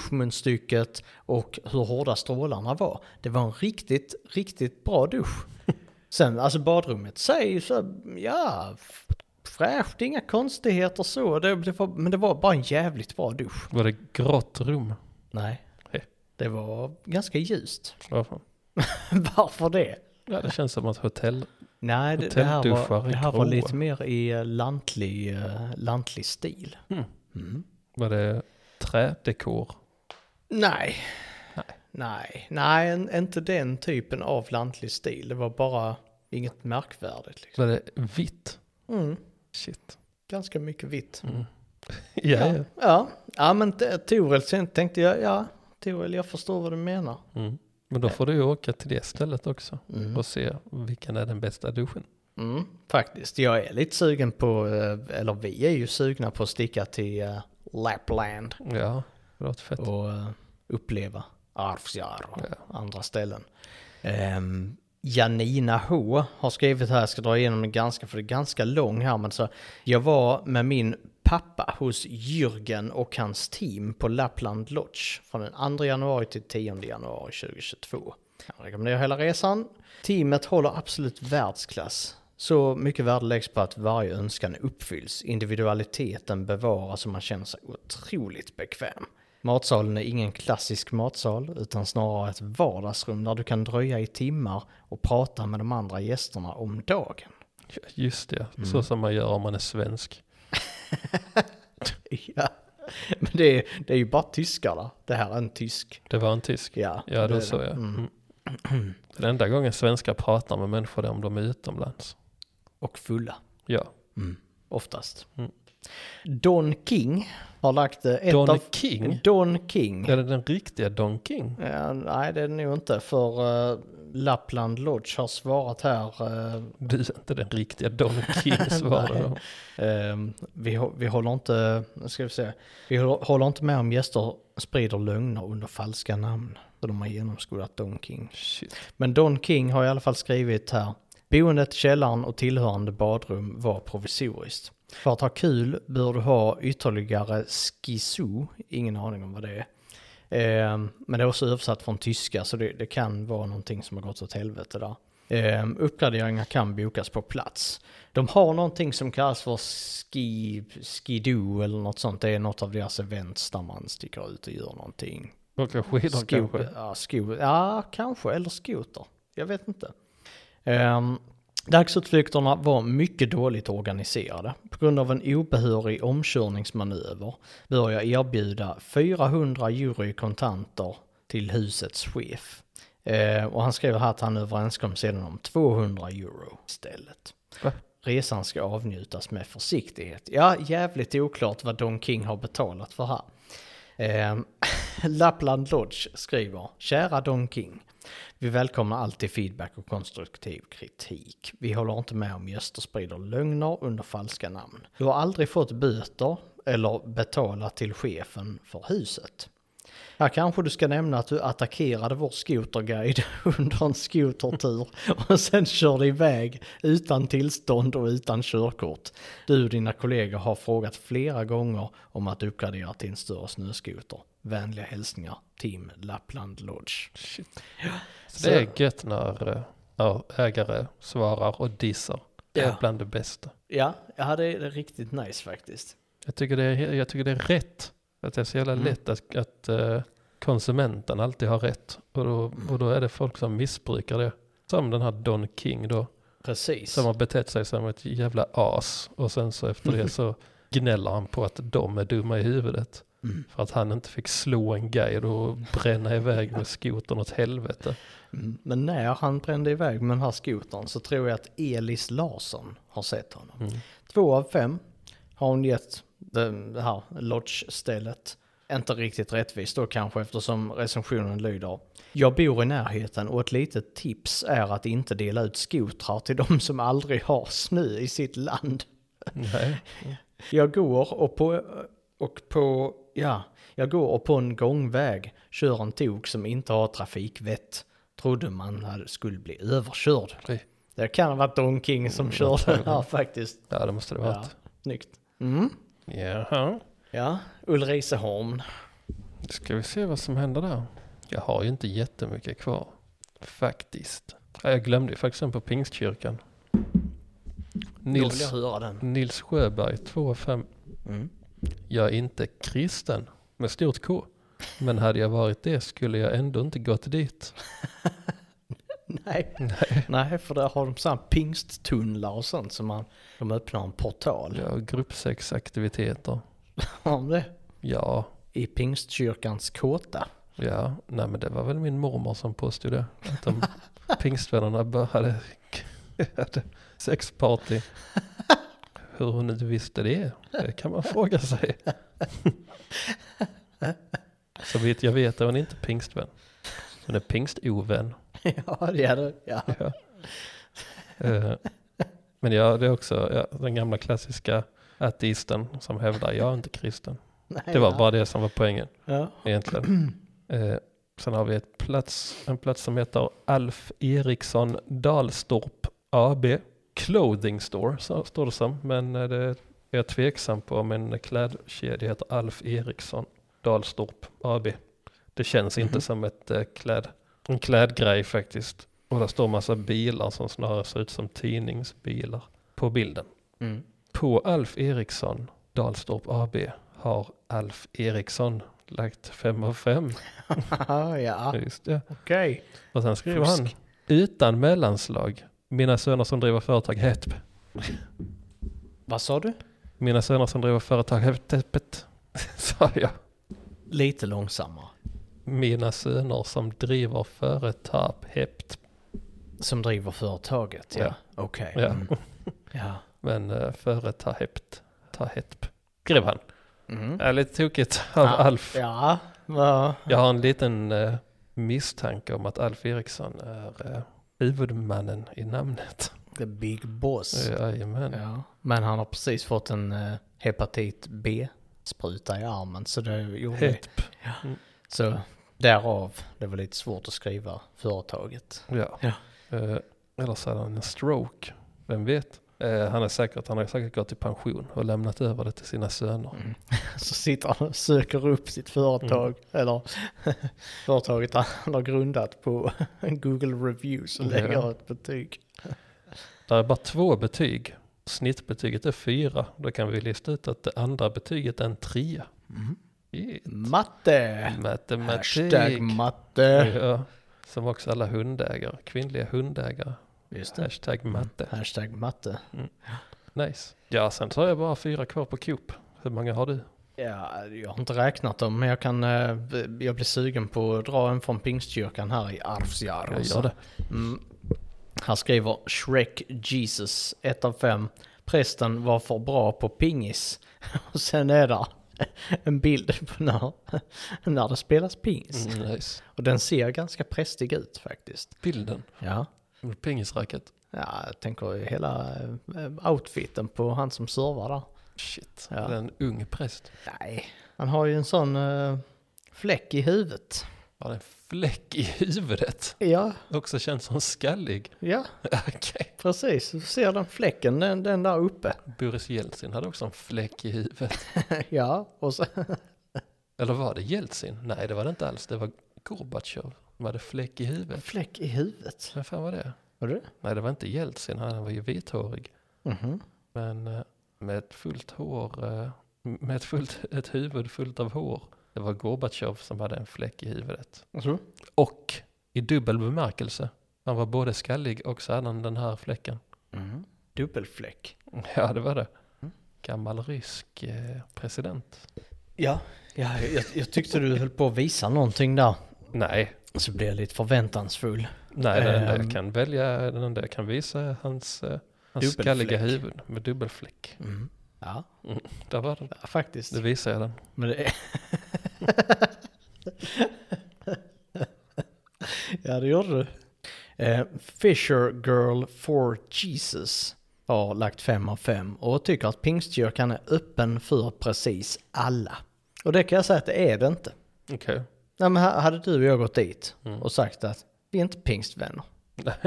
Speaker 3: duschmunstycket och hur hårda strålarna var. Det var en riktigt, riktigt bra dusch. Sen alltså badrummet sig så, ja, f- fräscht, inga konstigheter så. Det, det var, men det var bara en jävligt bra dusch.
Speaker 2: Var det grått rum?
Speaker 3: Nej,
Speaker 2: Hej.
Speaker 3: det var ganska ljust.
Speaker 2: Varför?
Speaker 3: *laughs* Varför det?
Speaker 2: Ja, det känns som att hotell...
Speaker 3: Nej, det, det här, var,
Speaker 2: Hotellduschar i
Speaker 3: det här var
Speaker 2: gråa.
Speaker 3: lite mer i eh, lantlig, eh, lantlig stil.
Speaker 2: Var det trädekor?
Speaker 3: Nej. Nej, nej, en- inte den typen av lantlig stil. Det var bara inget märkvärdigt. Liksom.
Speaker 2: Var det vitt?
Speaker 3: Mm,
Speaker 2: Shit. Mm.
Speaker 3: ganska mycket vitt.
Speaker 2: Ja, ja.
Speaker 3: Ja, ja men t- Toril, sen tänkte jag, ja, Toril, jag förstår vad du menar.
Speaker 2: Mm. Men då får du ju åka till det stället också och se vilken är den bästa duschen.
Speaker 3: Mm, faktiskt, jag är lite sugen på, eh, eller vi är ju sugna på att sticka till eh, Lapland.
Speaker 2: Ja, det låter fett.
Speaker 3: och eh, uppleva Arvsjar och andra ställen. Ehm, Janina H har skrivit här, jag ska dra igenom den ganska, för det är ganska lång här, men så jag var med min pappa hos Jürgen och hans team på Lapland Lodge från den 2 januari till 10 januari 2022. Jag rekommenderar hela resan. Teamet håller absolut världsklass. Så mycket värde läggs på att varje önskan uppfylls, individualiteten bevaras och man känner sig otroligt bekväm. Matsalen är ingen klassisk matsal utan snarare ett vardagsrum där du kan dröja i timmar och prata med de andra gästerna om
Speaker 2: *laughs*
Speaker 3: dagen.
Speaker 2: Ja, Just det,
Speaker 3: Mm.
Speaker 2: så som man gör om man är svensk.
Speaker 3: Ja, men det är, det är ju bara tyskarna. Det här är en tysk.
Speaker 2: Det var en tysk.
Speaker 3: Ja,
Speaker 2: Ja, då
Speaker 3: det-
Speaker 2: så ja. Mm. Den enda gången svenskar pratar med människor är om de är utomlands.
Speaker 3: Och fulla,
Speaker 2: Ja.
Speaker 3: oftast. Don King har lagt eh, ett
Speaker 2: Mm. Don
Speaker 3: av...
Speaker 2: King?
Speaker 3: Don King.
Speaker 2: Är det den riktiga Don King?
Speaker 3: Ja, nej, det är det nog inte, för eh, Lapland Lodge har svarat här eh,
Speaker 2: Du är inte den riktiga Don *laughs* King svarade de.
Speaker 3: Ehm, vi, hå- vi håller inte, nu ska vi se, vi hå- håller inte med om gäster sprider lögner under falska namn. Så de har genomskådat Don King.
Speaker 2: Shit.
Speaker 3: Men Don King har i alla fall skrivit här, boendet, källaren och tillhörande badrum var provisoriskt. För att ha kul bör du ha ytterligare skisso, ingen aning om vad det är. Ehm, men det är också översatt från tyska så det, det kan vara någonting som har gått åt helvete där. Ehm, uppgraderingar kan bokas på plats. De har någonting som kallas för ski, skidoo eller något sånt. Det är något av deras events där man sticker ut och gör någonting.
Speaker 2: Åka skidor
Speaker 3: Skoter,
Speaker 2: kanske.
Speaker 3: ja, sko, ja, kanske. Eller skoter. Jag vet inte. Um, dagsutflykterna var mycket dåligt organiserade. På grund av en obehörig omkörningsmanöver bör jag erbjuda 400 euro i kontanter till husets chef. Eh, och han skriver här att han överenskom sedan om 200 euro istället.
Speaker 2: Va?
Speaker 3: Resan ska avnjutas med försiktighet. Ja, jävligt oklart vad Don King har betalat för här. Eh, *laughs* Lappland Lodge skriver, kära Don King. Vi välkomnar alltid feedback och konstruktiv kritik. Vi håller inte med om gäster sprider lögner under falska namn. Du har aldrig fått böter eller betala till chefen för huset. Här kanske du ska nämna att du attackerade vår skoterguide *laughs* under en skotertur och sen körde iväg utan tillstånd och utan körkort. Du och dina kollegor har frågat flera gånger om att uppgradera till en större snöskoter. Vänliga hälsningar, Team Lappland Lodge.
Speaker 2: Shit. Så det är gött när eh, ja, ägare svarar och dissar. Det är
Speaker 3: Ja.
Speaker 2: bland det bästa.
Speaker 3: Ja, ja det är det är riktigt nice faktiskt.
Speaker 2: Jag tycker det är, he- jag tycker det är rätt. Att det är så jävla lätt att, att eh, konsumenten alltid har rätt. Och då, och då är det folk som missbrukar det. Som den här Don King då.
Speaker 3: Precis.
Speaker 2: Som har betett sig som ett jävla as. Och sen så efter det så gnäller han på att de är dumma i huvudet.
Speaker 3: Mm.
Speaker 2: För att han inte fick slå en guide och bränna iväg med skotern åt helvete.
Speaker 3: Mm, Men när han brände iväg med den här skotern så tror jag att Elis Larsson har sett honom.
Speaker 2: Mm.
Speaker 3: Två av fem har hon gett det här lodge-stället. Inte riktigt rättvist då kanske eftersom recensionen lyder. Jag bor i närheten och ett litet tips är att inte dela ut skotrar till de som aldrig har snö i sitt land.
Speaker 2: Nej.
Speaker 3: Jag går och på, och på, ja, jag går och på en gångväg kör en tok som inte har trafikvett. Trodde man hade- skulle bli överkörd.
Speaker 2: Oj. Mm,
Speaker 3: Det kan ha varit Don King som körde den här faktiskt.
Speaker 2: Ja, det måste det
Speaker 3: Ja,
Speaker 2: varit.
Speaker 3: snyggt. Mm.
Speaker 2: Jaha.
Speaker 3: Ja, Ulricehamn.
Speaker 2: Ska vi se vad som händer där. Jag har ju inte jättemycket kvar. Faktiskt. Ja, jag glömde ju faktiskt en på Pingstkyrkan.
Speaker 3: Då vill jag
Speaker 2: Nils,
Speaker 3: höra den.
Speaker 2: Nils Sjöberg, 2 av 5. *laughs*
Speaker 3: Mm.
Speaker 2: Jag är inte kristen, med stort K. Men hade jag varit det skulle jag ändå inte gått dit.
Speaker 3: Nej. Nej. för där har de sådana pingsttunnlar och sånt som man, de öppnar en portal.
Speaker 2: Ja, gruppsexaktiviteter.
Speaker 3: Har de det?
Speaker 2: Ja,
Speaker 3: I pingstkyrkans kåta. *laughs*
Speaker 2: ja. Nej men det var väl min mormor som påstod det. Att de pingstvännerna bara hade, hade sexparty. Hur hon nu visste det, det kan man fråga sig. Så vitt jag vet är hon inte pingstvän. Hon är pingstovän.
Speaker 3: ja, det är det. Ja.
Speaker 2: Ja. Eh, Men ja, det är också ja, den gamla klassiska ateisten som hävdar jag är inte kristen.
Speaker 3: Nej,
Speaker 2: Det var
Speaker 3: ja.
Speaker 2: bara det som var poängen
Speaker 3: Ja.
Speaker 2: egentligen. Eh, sen har vi ett plats, en plats som heter Alf Eriksson Dalstorp AB. Clothing Store så står det som, men eh, det är jag tveksam på om en klädkedja heter Alf Eriksson Dalstorp AB. Det känns inte som ett, eh, kläd, en klädgrej faktiskt. Och där står massa bilar som snarare ser ut som tidningsbilar på bilden.
Speaker 3: Mm.
Speaker 2: På Alf Eriksson, Dalstorp AB, har Alf Eriksson lagt fem av fem.
Speaker 3: Ah, ja.
Speaker 2: Just det.
Speaker 3: Okej.
Speaker 2: Och sen skriver
Speaker 3: Fusk.
Speaker 2: han, utan mellanslag, mina söner som driver företag Hep.
Speaker 3: Vad sa du?
Speaker 2: Mina söner som driver företag Hep, *laughs* sa jag.
Speaker 3: Lite långsammare.
Speaker 2: Mina söner som driver företag Hep.
Speaker 3: Som driver företaget, ja.
Speaker 2: Ja.
Speaker 3: Okej.
Speaker 2: Ja.
Speaker 3: Mm. Ja.
Speaker 2: Men uh, företag Hep, ta Hep, skrev han.
Speaker 3: Mm.
Speaker 2: Är lite tokigt av
Speaker 3: Ja.
Speaker 2: Alf.
Speaker 3: Ja. Ja.
Speaker 2: Jag har en liten eh, misstanke om att Alf Eriksson är eh, huvudmannen i namnet.
Speaker 3: The big boss.
Speaker 2: Jajamän.
Speaker 3: Ja. Men han har precis fått en eh, hepatit B-spruta i armen, så det gjorde
Speaker 2: Hep.
Speaker 3: Så därav, det var lite svårt att skriva företaget.
Speaker 2: Ja.
Speaker 3: Ja.
Speaker 2: Eh, eller så hade han en stroke. Vem vet? Eh, han, är säkert, han har säkert gått i pension och lämnat över det till sina söner.
Speaker 3: Så sitter han och söker upp sitt företag, eller *laughs* företaget han har grundat på Google Reviews och
Speaker 2: Ja.
Speaker 3: lägger ett betyg.
Speaker 2: Där är bara två betyg. Snittbetyget är fyra. Då kan vi lista ut att det andra betyget är en trea. Yeah.
Speaker 3: Mm. Matte! Hashtag
Speaker 2: Matematik.
Speaker 3: matte.
Speaker 2: Ja. Som också alla hundägare, kvinnliga hundägare.
Speaker 3: Just det.
Speaker 2: Hashtag matte.
Speaker 3: Hashtag matte.
Speaker 2: Nice. Ja, sen så har jag bara fyra kvar på Coop. Hur många har du?
Speaker 3: Ja, jag har inte räknat dem, men jag kan... eh, Jag blir sugen på att dra en från pingstkyrkan här i Arvsjar.
Speaker 2: Jag gör det.
Speaker 3: Mm. Han skriver Shrek Jesus 1 av 5. Prästen var för bra på pingis. *laughs* Och sen är där en bild på när, när det spelas pingis.
Speaker 2: Mm, nice.
Speaker 3: Och den ser ganska prästig ut faktiskt.
Speaker 2: Bilden.
Speaker 3: Ja.
Speaker 2: Pingisracket.
Speaker 3: ja, jag tänker hela eh, outfiten på han som servar där.
Speaker 2: Shit,
Speaker 3: Ja.
Speaker 2: det är en ung präst.
Speaker 3: Nej, han har ju en sån eh, fläck i huvudet.
Speaker 2: Har en fläck i huvudet.
Speaker 3: Ja,
Speaker 2: Också känns som skallig. *laughs*
Speaker 3: ja,
Speaker 2: Okej.
Speaker 3: precis. Du ser den fläcken, den, den där uppe. *laughs*
Speaker 2: Boris Jeltsin hade också en fläck i huvudet.
Speaker 3: ja, och så,
Speaker 2: Eller var det Jeltsin? Nej, det var det inte alls. Det var Gorbatjov som hade fläck i huvudet.
Speaker 3: fläck i huvudet.
Speaker 2: Vem fan var det?
Speaker 3: Var det?
Speaker 2: Nej, det var inte Jeltsin. Han var ju vithårig.
Speaker 3: Mhm.
Speaker 2: Men eh, med ett fullt hår, eh, med ett, fullt, *laughs* ett huvud fullt av hår. Det var Gorbatjov som hade en fläck i huvudet.
Speaker 3: Så?
Speaker 2: Och i dubbel bemärkelse. Han var både skallig och så hade han den här fläcken. *laughs*
Speaker 3: Mhm. Dubbelfläck.
Speaker 2: Ja, det var det.
Speaker 3: Mm.
Speaker 2: Gammal rysk eh, president.
Speaker 3: Ja, ja jag, jag tyckte du höll på att visa någonting där.
Speaker 2: Nej,
Speaker 3: Så blev jag lite förväntansfull.
Speaker 2: nej, den enda
Speaker 3: Ehm.
Speaker 2: jag kan välja, den enda jag kan visa är hans, eh, hans
Speaker 3: Dubbelfläck.
Speaker 2: skalliga huvud med dubbelfläck.
Speaker 3: Mm. Ja,
Speaker 2: Där var den.
Speaker 3: ja, faktiskt.
Speaker 2: Det visar jag den.
Speaker 3: Men det är... *laughs* ja, det gjorde du. Eh, Fisher Girl for Jesus har lagt 5 av 5 och tycker att pingstkyrkan är öppen för precis alla. Och det kan jag säga att det är det inte.
Speaker 2: Okej.
Speaker 3: Nej, men ha- hade du och jag gått dit
Speaker 2: Mm.
Speaker 3: och sagt att vi är inte pingstvänner.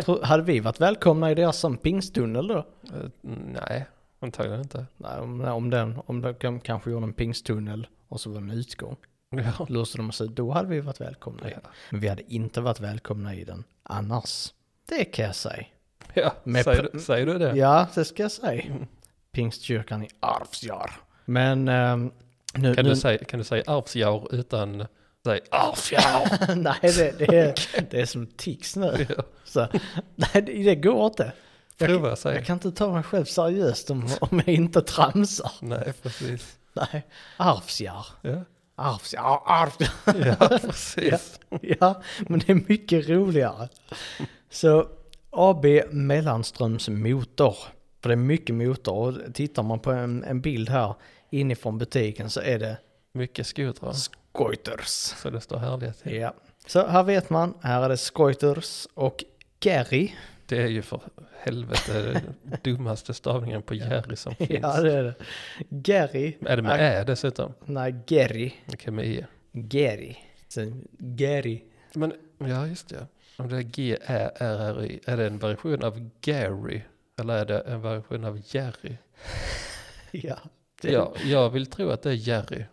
Speaker 3: Tro, hade vi varit välkomna i deras som pingsttunnel då?
Speaker 2: Eh, nej, antagligen inte. *laughs*
Speaker 3: Nej, om, om, den, om de kanske gjorde en pingsttunnel och så var det en utgång.
Speaker 2: Ja.
Speaker 3: *laughs* låste de oss ut, då hade vi varit välkomna i den. Men vi hade inte varit välkomna i den annars. Det kan jag säga.
Speaker 2: Ja,
Speaker 3: Med
Speaker 2: säger,
Speaker 3: pr-
Speaker 2: du, säger du det?
Speaker 3: Ja, det ska jag
Speaker 2: Mm.
Speaker 3: säga. Pingstkyrkan i Arvsjar. Men ehm, nu...
Speaker 2: Kan,
Speaker 3: nu
Speaker 2: du säga, kan du säga Arvsjaur utan säg Arvsjaur?
Speaker 3: *laughs* nej, det, det,
Speaker 2: *laughs*
Speaker 3: är, det är som tics nu.
Speaker 2: Ja.
Speaker 3: Så, nej, det, det går inte. Jag,
Speaker 2: Prova att säga.
Speaker 3: jag kan inte ta mig själv seriöst om, om jag inte tramsar.
Speaker 2: Nej, precis.
Speaker 3: Nej. Arvsjar.
Speaker 2: Ja,
Speaker 3: Arvsjar. Arvsjar.
Speaker 2: ja precis.
Speaker 3: *laughs* Ja, men det är mycket roligare. Så AB Mellanströms motor. För det är mycket motor och tittar man på en, en bild här inifrån butiken så är det
Speaker 2: Mycket skotrar,
Speaker 3: Skoiters.
Speaker 2: så det står härliga till.
Speaker 3: Ja, så här vet man, här är det Skoiters och Gary.
Speaker 2: Det är ju för helvete den dummaste stavningen på Jerry som finns.
Speaker 3: Ja, det är det. Gary.
Speaker 2: Är det med ä dessutom?
Speaker 3: Nej, Gary.
Speaker 2: Okej, med i.
Speaker 3: Gary. Sen Gary.
Speaker 2: Men, ja just det. Om det är G-Ä-R-R-Y, är det en version av Gary? Eller är det en version av Jerry?
Speaker 3: Ja. Det- Mm.
Speaker 2: Ja, jag vill tro att det är Jerry.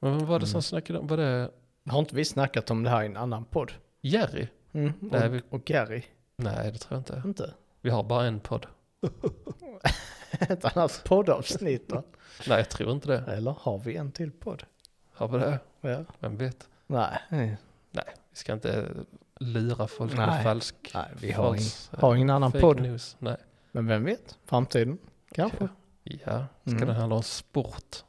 Speaker 2: Men vad var det som snackade om, var det
Speaker 3: Har inte vi snackat om det här i en annan podd?
Speaker 2: Jerry?
Speaker 3: Mm.
Speaker 2: Nej, vi-
Speaker 3: Och, och Gary.
Speaker 2: Nej, det tror jag inte.
Speaker 3: Inte?
Speaker 2: Vi har bara en podd.
Speaker 3: *laughs* Ett annat poddavsnitt då?
Speaker 2: Nej, jag tror inte det.
Speaker 3: Eller har vi en till podd?
Speaker 2: Har vi det?
Speaker 3: Ja.
Speaker 2: Vem vet?
Speaker 3: Nej, nej,
Speaker 2: Nej, vi ska inte lura folk
Speaker 3: Nej.
Speaker 2: med falsk...
Speaker 3: vi har, ing,
Speaker 2: fals-
Speaker 3: har ingen annan
Speaker 2: fake
Speaker 3: podd.
Speaker 2: News. Nej.
Speaker 3: Men vem vet, framtiden kanske.
Speaker 2: Ja, ska
Speaker 3: Mm.
Speaker 2: den handla om sport?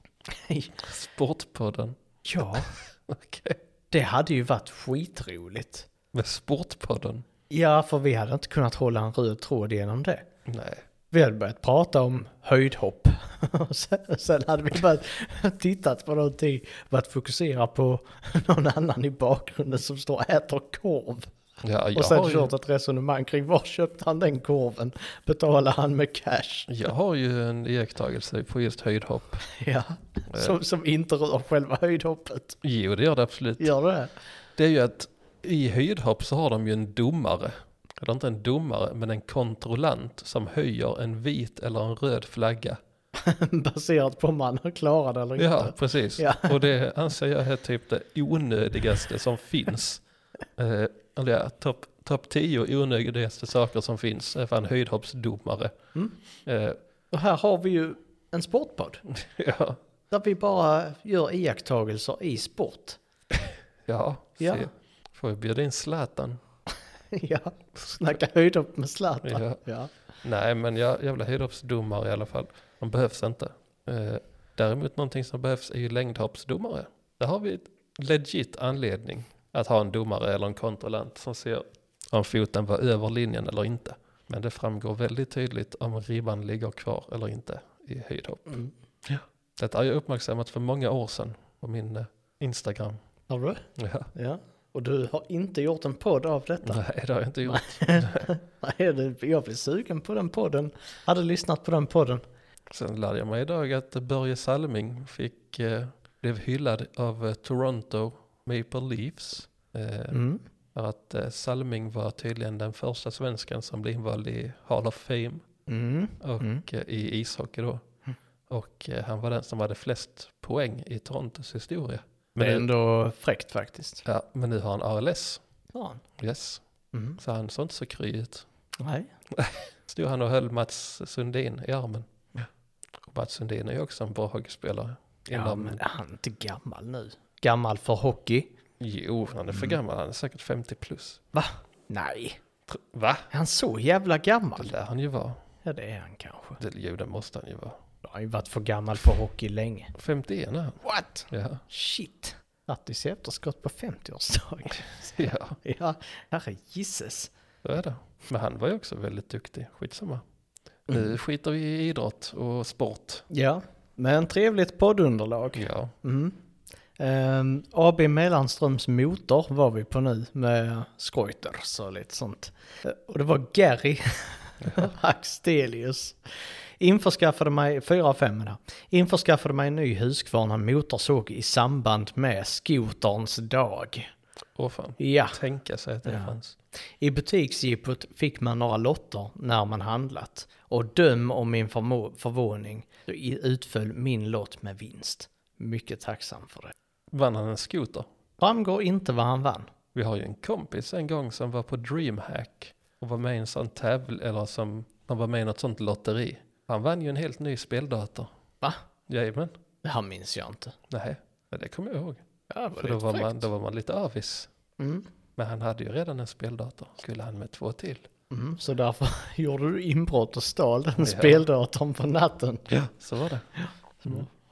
Speaker 3: Nej.
Speaker 2: Sportpodden. *laughs*
Speaker 3: Ja,
Speaker 2: Okej.
Speaker 3: det hade ju varit skitroligt.
Speaker 2: Med Sportpodden?
Speaker 3: Ja, för vi hade inte kunnat hålla en röd tråd genom det.
Speaker 2: Nej.
Speaker 3: Vi hade börjat prata om höjdhopp. *laughs* Och sen, sen hade vi börjat tittat på någonting, börjat fokusera på *laughs* någon annan i bakgrunden som står och äter korv.
Speaker 2: Ja, jag,
Speaker 3: Och sen
Speaker 2: har ju,
Speaker 3: kört ett resonemang kring var köpte han den korven? Betalade han med cash? *laughs*
Speaker 2: jag har ju en iakttagelse på just höjdhopp.
Speaker 3: Ja, som, som inte rör själva höjdhoppet.
Speaker 2: Jo, det gör det absolut.
Speaker 3: Gör det? *laughs*
Speaker 2: Det är ju att i höjdhopp så har de ju en domare. Eller inte en domare, men en kontrollant som höjer en vit eller en röd flagga.
Speaker 3: Baserat på om man har klarat det eller inte.
Speaker 2: Ja, precis.
Speaker 3: Ja.
Speaker 2: Och det anser jag är typ det onödigaste som
Speaker 3: *laughs*
Speaker 2: finns. Eh, eller ja, topp top 10 onödigaste saker som finns är fan höjdhoppsdomare.
Speaker 3: Mm.
Speaker 2: Eh, *laughs*
Speaker 3: Och här har vi ju en sportpodd.
Speaker 2: ja,
Speaker 3: Där vi bara gör iakttagelser i sport. *laughs*
Speaker 2: ja,
Speaker 3: Ja.
Speaker 2: Se. Får jag bjuda in Zlatan?
Speaker 3: ja, snacka höjdhopp med Zlatan.
Speaker 2: Ja.
Speaker 3: Ja.
Speaker 2: Nej, men jag, jävla höjdhoppsdomare i alla fall. De behövs inte. Eh, Däremot någonting som behövs är ju längdhoppsdomare. Där har vi ett legit anledning att ha en domare eller en kontrollant som ser om foten var över linjen eller inte. Men det framgår väldigt tydligt om ribban ligger kvar eller inte i höjdhopp.
Speaker 3: Mm.
Speaker 2: Detta har jag uppmärksammat för många år sedan på min eh, Instagram.
Speaker 3: Har du?
Speaker 2: Ja.
Speaker 3: Ja. Och du har inte gjort en podd av
Speaker 2: *laughs*
Speaker 3: detta?
Speaker 2: Nej, det har jag inte gjort.
Speaker 3: *laughs* Nej, det- jag blir sugen på den podden. Hade lyssnat på den podden.
Speaker 2: Sen lärde jag mig idag att Börje Salming fick, eh, blev hyllad av eh, Toronto Maple Leafs. Eh,
Speaker 3: Mm.
Speaker 2: För att eh, Salming var tydligen den första svensken som blev invald i Hall of Fame
Speaker 3: Mm.
Speaker 2: och
Speaker 3: Mm.
Speaker 2: eh, i ishockey då. Och eh, han var den som hade flest poäng i Torontos historia.
Speaker 3: Men det är
Speaker 2: Men, nu,
Speaker 3: ändå fräckt faktiskt.
Speaker 2: ja, men nu har han ALS.
Speaker 3: Ja.
Speaker 2: Yes.
Speaker 3: Mm.
Speaker 2: Så han såg inte så kry ut.
Speaker 3: Nej.
Speaker 2: Stod han och höll Mats Sundin i armen. Och Mats Sundin är ju också en bra hockeyspelare.
Speaker 3: Ja,
Speaker 2: Inom-
Speaker 3: men han är inte gammal nu. Gammal för hockey?
Speaker 2: Jo, han är för gammal. Han är säkert 50 plus.
Speaker 3: Va? Nej.
Speaker 2: Tr- Va?
Speaker 3: Är han så jävla
Speaker 2: Det
Speaker 3: gammal?
Speaker 2: lär han ju vara.
Speaker 3: Ja, det är han kanske.
Speaker 2: Det, jo, det måste han ju vara.
Speaker 3: Han har ju varit för gammal för hockey länge.
Speaker 2: 51 är han.
Speaker 3: What?
Speaker 2: Ja. *laughs*
Speaker 3: Shit. Grattis i efterskott på 50-årsdag.
Speaker 2: ja.
Speaker 3: ja, herre gisses.
Speaker 2: Så är det. Men han var ju också väldigt duktig. Skitsamma. Nu skiter vi i idrott och sport.
Speaker 3: Ja, men trevligt poddunderlag.
Speaker 2: Ja,
Speaker 3: Mm. Ehm, AB Mellanströms motor var vi på nu med Skojters och lite sånt. Eh, Och det var Gary *laughs* Axelius. Införskaffade mig, 4 av 5 där. Införskaffade mig en ny Husqvarna motorsåg i samband med skoterns dag.
Speaker 2: åh fan.
Speaker 3: Ja,
Speaker 2: Tänka sig att det
Speaker 3: Ja.
Speaker 2: fanns.
Speaker 3: i butiksjippot fick man några lotter när man handlat. Och döm om min förmo- förvåning, så i- utföll min lott med vinst. Mycket tacksam för det.
Speaker 2: Vann han en skoter?
Speaker 3: Framgår inte vad han vann.
Speaker 2: Vi har ju en kompis en gång som var på DreamHack och var med i en sån tävling, eller som han var med i något sånt lotteri. Han vann ju en helt ny speldator.
Speaker 3: Va?
Speaker 2: Jajamän.
Speaker 3: Det här minns jag inte.
Speaker 2: Nej, men det kommer jag ihåg.
Speaker 3: Ja, var
Speaker 2: För då var, man, då var man lite avis.
Speaker 3: Mm.
Speaker 2: Men han hade ju redan en speldator. Skulle han med två till?
Speaker 3: Mm, så därför *laughs* gjorde du inbrott och stal den
Speaker 2: Ja.
Speaker 3: speldatorn på natten.
Speaker 2: Ja, så var det.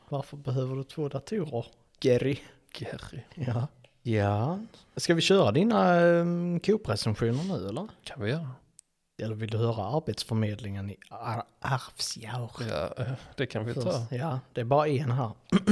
Speaker 3: Varför behöver du två datorer? Gary.
Speaker 2: Gary.
Speaker 3: Ja. Ja. Ska vi köra dina um, Coop-recensioner nu eller?
Speaker 2: Kan vi göra.
Speaker 3: Eller vill du höra Arbetsförmedlingen i Ar- Arvsjaur?
Speaker 2: Ja, eh, det kan vi ta.
Speaker 3: Först. Ja, det är bara en här. *clears throat*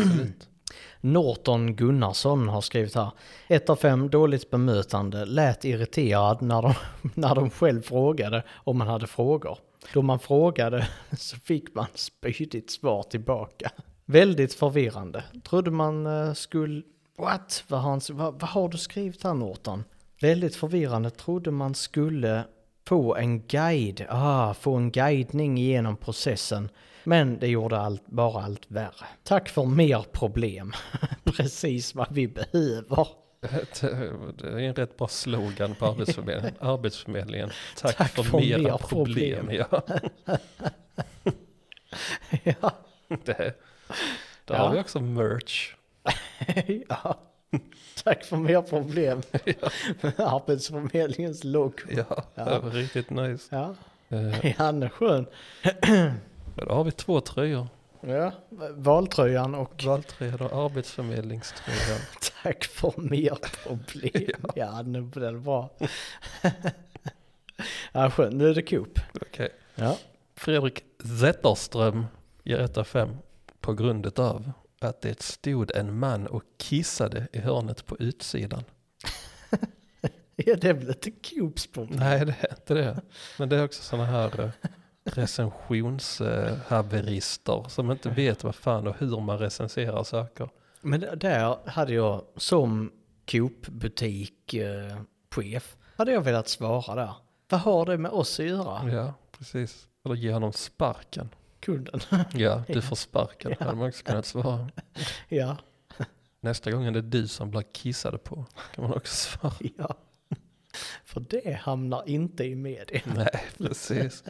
Speaker 3: Norton Gunnarsson har skrivit här. 1 av 5 dåligt bemötande, lät irriterad när de, *laughs* när de själv frågade om man hade frågor. Då man frågade *laughs* så fick man spydigt svar tillbaka. Väldigt förvirrande. Trodde man eh, skulle... What? Vad har, han, vad, vad har du skrivit här Norton? Väldigt förvirrande. Trodde man skulle få en guide. Ah, få en guidning genom processen. Men det gjorde allt, bara allt värre. Tack för mer problem. *laughs* Precis vad vi behöver.
Speaker 2: *laughs*
Speaker 3: *laughs*
Speaker 2: Det- Det är en rätt bra slogan på Arbetsförmedlingen. Arbetsförmedlingen. Tack, för, mera, problem. *laughs* Ja,
Speaker 3: ja.
Speaker 2: det, där
Speaker 3: Ja.
Speaker 2: har vi också merch.
Speaker 3: ja. Tack för
Speaker 2: *laughs*
Speaker 3: mer problem. Arbetsförmedlingens logo.
Speaker 2: Ja, det var riktigt nice.
Speaker 3: Ja,
Speaker 2: Eh,
Speaker 3: han är skön.
Speaker 2: Då har vi två tröjor.
Speaker 3: Ja, valtröjan och *laughs*
Speaker 2: Valtröjan och arbetsförmedlingströjan.
Speaker 3: tack för mer problem.
Speaker 2: *laughs*
Speaker 3: ja. nu blir det bra. *laughs* ja, skönt. Nu är det Coop.
Speaker 2: Okej.
Speaker 3: Ja.
Speaker 2: Fredrik Zetterström ger 1 av 5 på grund av att det stod en man och kissade i hörnet på utsidan.
Speaker 3: ja, det är väl inte Coops problem.
Speaker 2: Nej, det är inte det. Men det är också sådana här eh, recensionshaverister som inte vet vad fan och hur man recenserar saker.
Speaker 3: Men d- där hade jag som Coop-butikchef, hade jag velat svara där. Vad har det med oss att göra,
Speaker 2: Ja, precis. Eller ge honom sparken.
Speaker 3: kunden? *laughs*
Speaker 2: Ja, du får sparken. Hade man också kunnat svara.
Speaker 3: ja,
Speaker 2: Nästa gång är det du som blir kissad på. Kan man också svara.
Speaker 3: ja. *laughs* För det hamnar inte i media. *laughs*
Speaker 2: Nej, precis.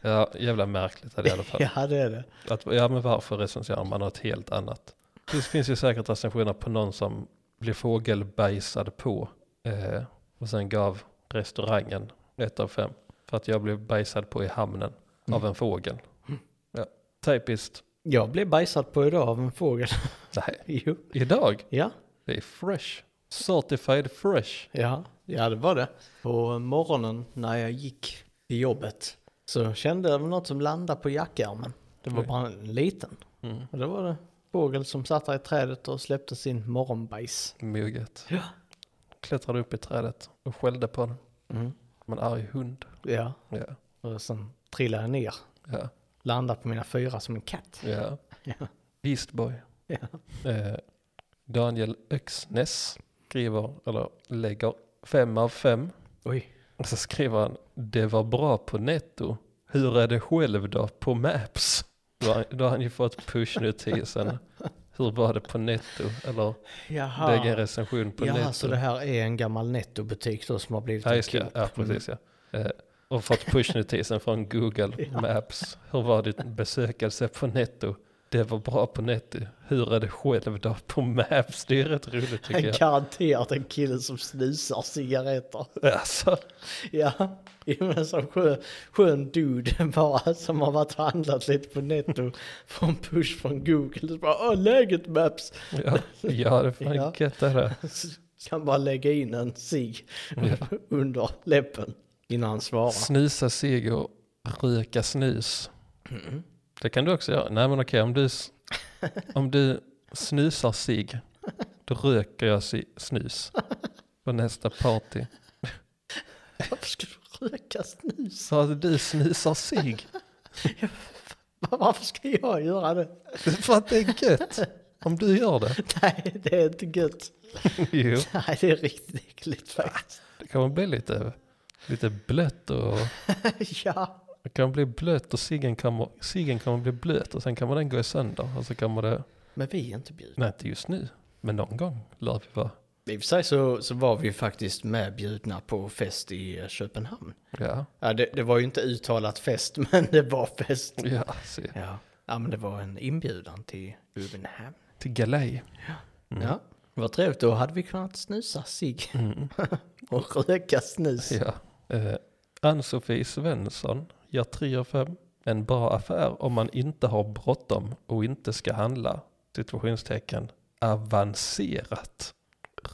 Speaker 2: Ja, jävla märkligt är det i alla fall.
Speaker 3: Ja, det är det.
Speaker 2: Att, ja, men varför recenserar man något helt annat? Det finns ju säkert recensioner på någon som blev fågelbajsad på eh, och sen gav restaurangen ett av Mm. fem för att jag blev bajsad på i hamnen av en fågel. Ja, typiskt.
Speaker 3: Jag blev bajsad på idag av en fågel. *laughs*
Speaker 2: Nej,
Speaker 3: jo.
Speaker 2: idag.
Speaker 3: Ja.
Speaker 2: Det är fresh. Certified fresh.
Speaker 3: Ja, ja det var det. På morgonen när jag gick till jobbet så kände jag något som landade på jackärmen. Det var
Speaker 2: Oj.
Speaker 3: bara en liten.
Speaker 2: Mm.
Speaker 3: Och det var det fågel som satt där i trädet och släppte sin morgonbajs.
Speaker 2: Mugget.
Speaker 3: Ja.
Speaker 2: Klättrade upp i trädet och skällde på den.
Speaker 3: Mm.
Speaker 2: Som en arg hund.
Speaker 3: Ja,
Speaker 2: Ja,
Speaker 3: och sen trillade jag ner.
Speaker 2: ja,
Speaker 3: Landade på mina fyra som en katt.
Speaker 2: ja.
Speaker 3: Ja.
Speaker 2: Beast boy.
Speaker 3: Ja.
Speaker 2: Eh, Daniel Öxnäs skriver, eller lägger fem av fem.
Speaker 3: Oj.
Speaker 2: Och så skriver han, det var bra på netto. Hur är det själv då på Maps? Då har, då har han ju fått pushnotisen. Hur var det på netto? Eller
Speaker 3: Jaha.
Speaker 2: lägga en recension på
Speaker 3: Jaha,
Speaker 2: netto.
Speaker 3: Ah. så det här är en gammal nettobutik då som har blivit
Speaker 2: ja,
Speaker 3: en
Speaker 2: just det.
Speaker 3: klubb.
Speaker 2: ja, precis ja. Eh, och fått pushnotisen från *laughs* Google Maps. Hur var ditt besökelse på netto? Det var bra på netto. Hur är det själv då på Maps? Det är rätt roligt tycker
Speaker 3: En
Speaker 2: jag.
Speaker 3: garanterat en kille som snusar cigaretter.
Speaker 2: Alltså,
Speaker 3: *laughs* Ja, jo, men som skön, skön dude *laughs* bara som har varit och handlat lite på netto *laughs* från push från Google. Så bara, Åh, läget maps. *laughs*
Speaker 2: ja, ja det är fan
Speaker 3: Ja.
Speaker 2: gött det där.
Speaker 3: Så Kan bara lägga in en cigg *laughs* under läppen innan
Speaker 2: *laughs*
Speaker 3: han svarar.
Speaker 2: Snusa cigg och röka snus. Det kan du också göra. Nej men okej, om du, s- om du snusar cigg, då röker jag si- snus på nästa party.
Speaker 3: Varför ska du röka snus?
Speaker 2: Så att du snusar cigg,
Speaker 3: Varför ska jag göra det? *laughs*
Speaker 2: Det är för att det är gött. Om du gör det. *laughs*
Speaker 3: Nej, det är inte gött.
Speaker 2: Jo,
Speaker 3: *laughs* Nej, det är riktigt äckligt faktiskt. *laughs*
Speaker 2: det kommer bli lite, lite blött och...
Speaker 3: Ja,
Speaker 2: Det kan bli blött och ciggen kommer, ciggen kommer bli blöt och sen kommer den gå sönder. Och så kommer det...
Speaker 3: men vi är inte bjudna.
Speaker 2: Nej, inte just nu. Men någon gång lär vi vara...
Speaker 3: I och för sig så, så var vi ju faktiskt med bjudna på fest i eh, Köpenhamn.
Speaker 2: Ja,
Speaker 3: Ja, det, det var ju inte uttalat fest, *laughs* men det var fest.
Speaker 2: ja, se.
Speaker 3: Ja, ja men det var en inbjudan till Uvenhamn.
Speaker 2: Till galej.
Speaker 3: Ja, det var trevligt. Då hade vi kunnat snusa sig
Speaker 2: Mm.
Speaker 3: *laughs* och röka snus.
Speaker 2: Ja. Eh, Ann-Sofie Svensson gör 3 av 5. En bra affär om man inte har bråttom och inte ska handla. Situationstecken. Avancerat.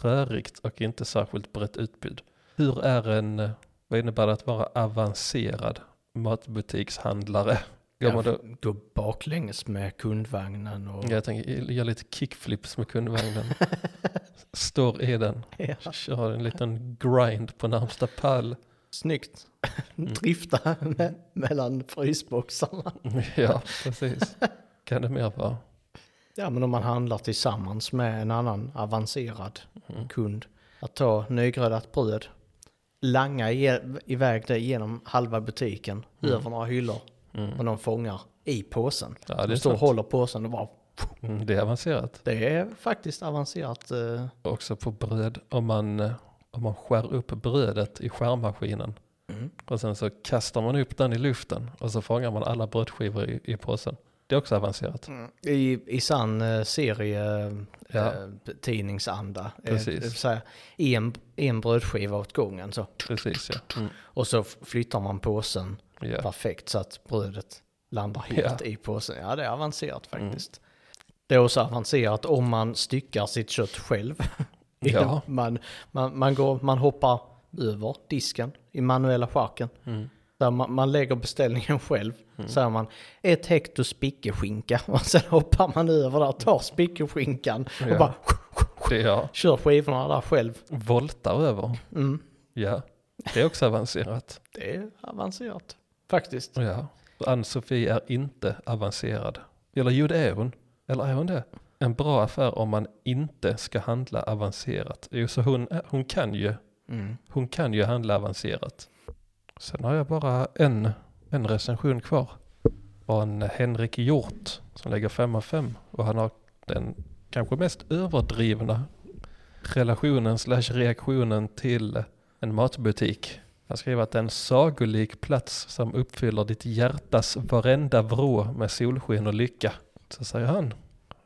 Speaker 2: Rörigt och inte särskilt brett utbud. Hur är en, eh, vad innebär det att vara avancerad matbutikshandlare? Går man då,
Speaker 3: Gå baklänges med kundvagnen och...
Speaker 2: jag tänker, gör lite kickflips med kundvagnen. Står i den,
Speaker 3: Ja.
Speaker 2: kör en liten grind på närmsta pall.
Speaker 3: Snyggt. Drifta *laughs* me- mellan frysboxarna.
Speaker 2: Mm-hmm. *laughs* Ja, precis. Kan det mer vara?
Speaker 3: Ja, men om man handlar tillsammans med en annan avancerad
Speaker 2: Mm.
Speaker 3: kund. Att ta nygrödat bröd, langa i- iväg det genom halva butiken,
Speaker 2: Mm.
Speaker 3: över några hyllor. Och de fångar i påsen.
Speaker 2: Ja, det är
Speaker 3: de står och
Speaker 2: sant.
Speaker 3: håller påsen och bara...
Speaker 2: Mm, Det är avancerat.
Speaker 3: Det är faktiskt avancerat. eh,
Speaker 2: Också på bröd, om man, eh, om man skär upp brödet i skärmaskinen. Och sen så kastar man upp den i luften och så fångar man alla brödskivor i, i påsen. Det är också avancerat.
Speaker 3: Mm. I, i sann eh, serie eh,
Speaker 2: Ja.
Speaker 3: tidningsanda. Eh,
Speaker 2: Precis.
Speaker 3: det vill säga, en, en brödskiva åt gången så.
Speaker 2: Precis ja. Mm.
Speaker 3: Och så f- flyttar man påsen
Speaker 2: ja.
Speaker 3: perfekt så att brödet landar helt
Speaker 2: Ja. Mm.
Speaker 3: i påsen. Ja, det är avancerat faktiskt. Det är också avancerat om man styckar sitt kött själv.
Speaker 2: *laughs* Ja.
Speaker 3: *laughs* man, man, man, går, man hoppar över disken i manuella charken.
Speaker 2: Mm.
Speaker 3: Där man, man lägger beställningen själv. Så har man ett hekto spickeskinka *laughs* och sen hoppar man över där, tar spickeskinkan och
Speaker 2: Ja.
Speaker 3: bara *laughs*
Speaker 2: Det är ja.
Speaker 3: kör skivorna där själv.
Speaker 2: Voltar över. Ja. Det är också avancerat.
Speaker 3: Det är avancerat faktiskt.
Speaker 2: Ja. Så Ann-Sofie är inte avancerad. Eller jo, det är hon. Eller är hon det? En bra affär om man inte ska handla avancerat. Jo, så hon, är- hon kan ju.
Speaker 3: Mm.
Speaker 2: Hon kan ju handla avancerat. Sen har jag bara en, en recension kvar. Från Henrik Hjort som lägger 5 av 5. Och han har den kanske mest överdrivna relationen slash reaktionen till en matbutik. Han skriver att det är en sagolik plats som uppfyller ditt hjärtas varenda vrå med solsken och lycka. Så säger han.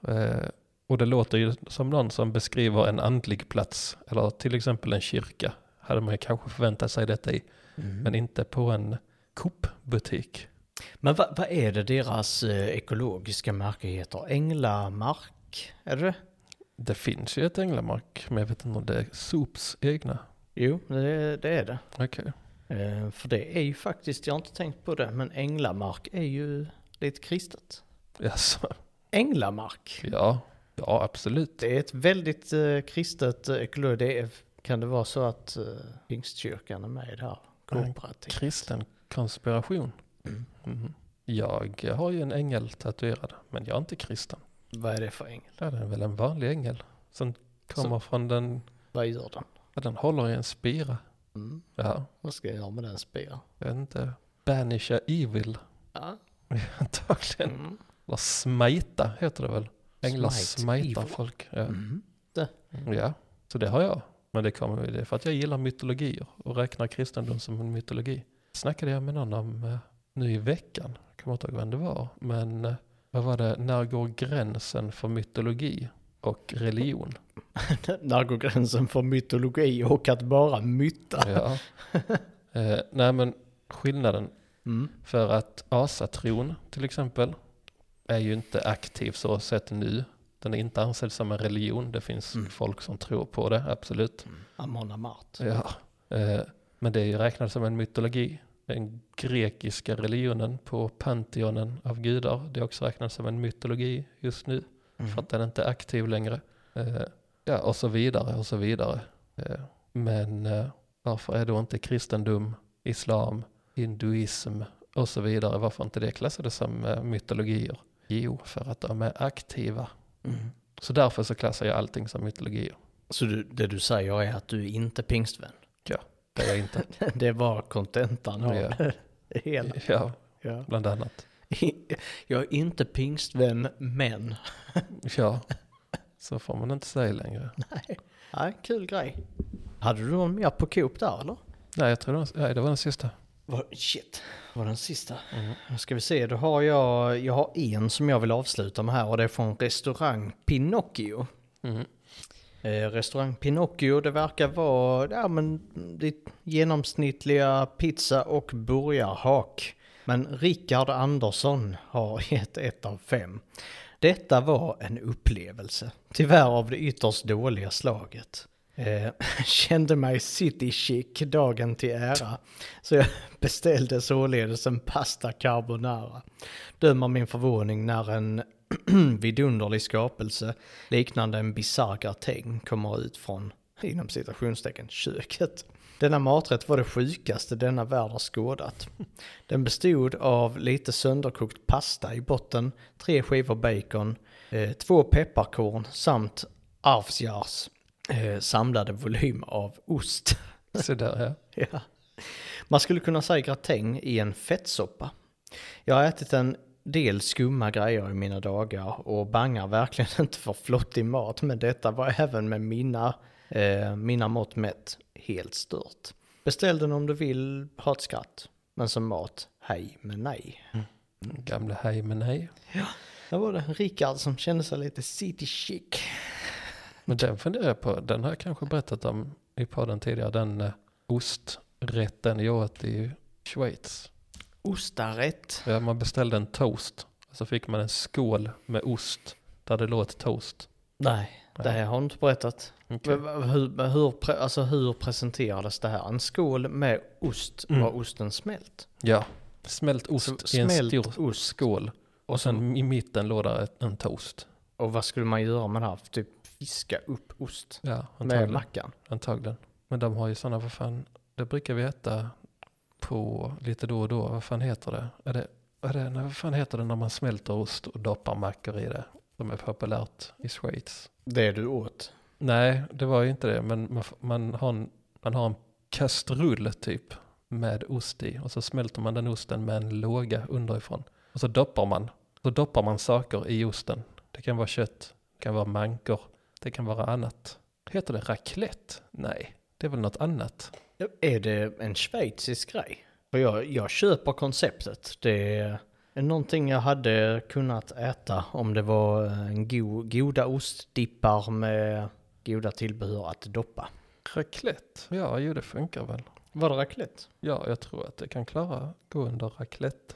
Speaker 2: Eh, och det låter ju som någon som beskriver en andlig plats, eller till exempel en kyrka. Mm. Hade man ju kanske förväntat sig detta i, men inte på en Coop-butik.
Speaker 3: Men vad, vad är det deras eh, ekologiska märke heter? Änglamark? Är det det?
Speaker 2: Det finns ju ett änglamark, men jag vet inte om det är Sops egna.
Speaker 3: Jo, det, det är det.
Speaker 2: Okej.
Speaker 3: Eh, för det är ju faktiskt, jag har inte tänkt på det, men änglamark är ju lite kristet.
Speaker 2: Jaså?
Speaker 3: Änglamark.
Speaker 2: ja. Ja, absolut.
Speaker 3: Det är ett väldigt eh, kristet eh, ekologiskt, det är, kan det vara så att eh, Pingstkyrkan är med i det här kooperativet?
Speaker 2: Kristen konspiration. Mhm. Jag har ju en ängel tatuerad, men jag är inte kristen.
Speaker 3: Vad är det för ängel?
Speaker 2: Ja, Det är väl en vanlig ängel som kommer från den,
Speaker 3: Vad gör den?
Speaker 2: ja, den håller i en spira.
Speaker 3: Mm.
Speaker 2: Ja,
Speaker 3: Vad ska jag göra med den spiran?
Speaker 2: jag vet inte. Banisha evil, *laughs*
Speaker 3: Ja.
Speaker 2: antagligen.
Speaker 3: Mm.
Speaker 2: Eller smita heter det väl? Änglar
Speaker 3: Smite
Speaker 2: smitar
Speaker 3: evil.
Speaker 2: folk. Ja.
Speaker 3: Mm.
Speaker 2: ja, så det har jag. Men det kommer det är för att jag gillar mytologier och räknar kristendom som en mytologi. Snackade jag med någon om eh, nu i veckan, jag kommer inte ihåg vem det var, men eh, vad var det, när går gränsen för mytologi och
Speaker 3: *laughs*
Speaker 2: religion?
Speaker 3: *laughs* Där går gränsen för mytologi och att bara mytta.
Speaker 2: Ja. Eh, nej men skillnaden
Speaker 3: Mm.
Speaker 2: för att asatron till exempel är ju inte aktiv så sett nu. Den är inte ansedd som en religion. Det finns
Speaker 3: Mm.
Speaker 2: folk som tror på det, absolut.
Speaker 3: Amon Amart.
Speaker 2: Ja. Eh, men det är ju räknat som en mytologi. Den grekiska religionen på Pantheonen av gudar, det är också räknat som en mytologi just nu
Speaker 3: Mm.
Speaker 2: för att den inte är aktiv längre. Eh, ja, och så vidare och så vidare. Eh, men eh, varför är då inte kristendom, islam, hinduism och så vidare, varför inte det klassade som eh, mytologier? Jo, för att de är aktiva.
Speaker 3: Mm.
Speaker 2: Så därför så klassar jag allting som mytologier.
Speaker 3: Så du, det du säger är att du är inte pingstvän? *laughs*
Speaker 2: Det är jag inte.
Speaker 3: Det var kontentan av
Speaker 2: Ja.
Speaker 3: *laughs* det hela.
Speaker 2: ja,
Speaker 3: Ja. *laughs*
Speaker 2: bland annat.
Speaker 3: Jag är inte pingstvän, men.
Speaker 2: Ja, så får man inte säga längre.
Speaker 3: Ja, kul grej. Hade du någon mer på Coop där eller?
Speaker 2: Nej, jag tror det var, nej, det var den sista.
Speaker 3: Var, shit, var den sista? Nu Mm. ska vi se, då har jag, jag har en som jag vill avsluta med här och det är från restaurang Pinocchio.
Speaker 2: Mm.
Speaker 3: Eh, Restaurang Pinocchio, det verkar vara ja, men, ditt genomsnittliga pizza och burgarhak. Men Rickard Andersson har *laughs* gett ett av fem. Detta var en upplevelse, tyvärr av det ytterst dåliga slaget. Eh, *laughs* kände mig city chic dagen till ära, så jag *laughs* beställde således en pasta carbonara. Döm av min förvåning när en *clears throat* vidunderlig skapelse liknande en bisarr gratäng kommer ut från, inom citationstecken, köket. Denna maträtt var det sjukaste denna värld har skådat. Den bestod av lite sönderkokt pasta i botten, tre skivor bacon, eh, två pepparkorn samt Arvsjars eh, samlade volym av ost.
Speaker 2: Så där, ja.
Speaker 3: *laughs* Ja. Man skulle kunna säga gratäng i en fettsoppa. Jag har ätit en del skumma grejer i mina dagar och bangar verkligen *laughs* inte för flottig mat, men detta var även med mina, eh, mina mått mätt helt stört. Beställ den om du vill ha ett skratt, men som mat, hej men nej.
Speaker 2: Gamla hej men nej.
Speaker 3: Där var det Rickard som kände sig lite city chic.
Speaker 2: Men den funderar jag på, den har jag kanske berättat om i podden tidigare, den eh, osträtten jag åt i Schweiz.
Speaker 3: Ostarätt.
Speaker 2: Ja, Man beställde en toast, och så fick man en skål med ost där det låg ett toast.
Speaker 3: Nej, det här har du inte berättat.
Speaker 2: Okej.
Speaker 3: Men Hur, hur, pre- alltså hur presenterades det här? En skål med ost
Speaker 2: Mm.
Speaker 3: var osten smält.
Speaker 2: Ja, smält ost
Speaker 3: Så
Speaker 2: i en
Speaker 3: smält
Speaker 2: stor
Speaker 3: ost.
Speaker 2: skål. Och sen i mitten låg där ett- en toast.
Speaker 3: Och vad skulle man göra med det här? Typ fiska upp ost
Speaker 2: Ja,
Speaker 3: med
Speaker 2: antagligen.
Speaker 3: mackan.
Speaker 2: antagligen. Men de har ju sådana, vad fan, det brukar vi äta på lite då och då, vad fan heter det? Är det, är det nej, vad fan heter det när man smälter ost och doppar mackor i det? Som är populärt i Schweiz.
Speaker 3: Det du åt.
Speaker 2: Nej, det var ju inte det, men man, f- man, har, en, man har en kastrull typ med ost i och så smälter man den osten med en låga underifrån. Och så doppar man, så doppar man saker i osten. Det kan vara kött, det kan vara mankor, det kan vara annat. Heter det raclette? Nej, det är väl något annat.
Speaker 3: Är det en schweizisk grej? För jag, jag köper konceptet. Det är någonting jag hade kunnat äta om det var eh, en go, goda ostdippar med goda tillbehör att doppa.
Speaker 2: Raclette? Ja, jo det funkar väl.
Speaker 3: Var det raclette?
Speaker 2: Ja, jag tror att det kan klara gå under raclette.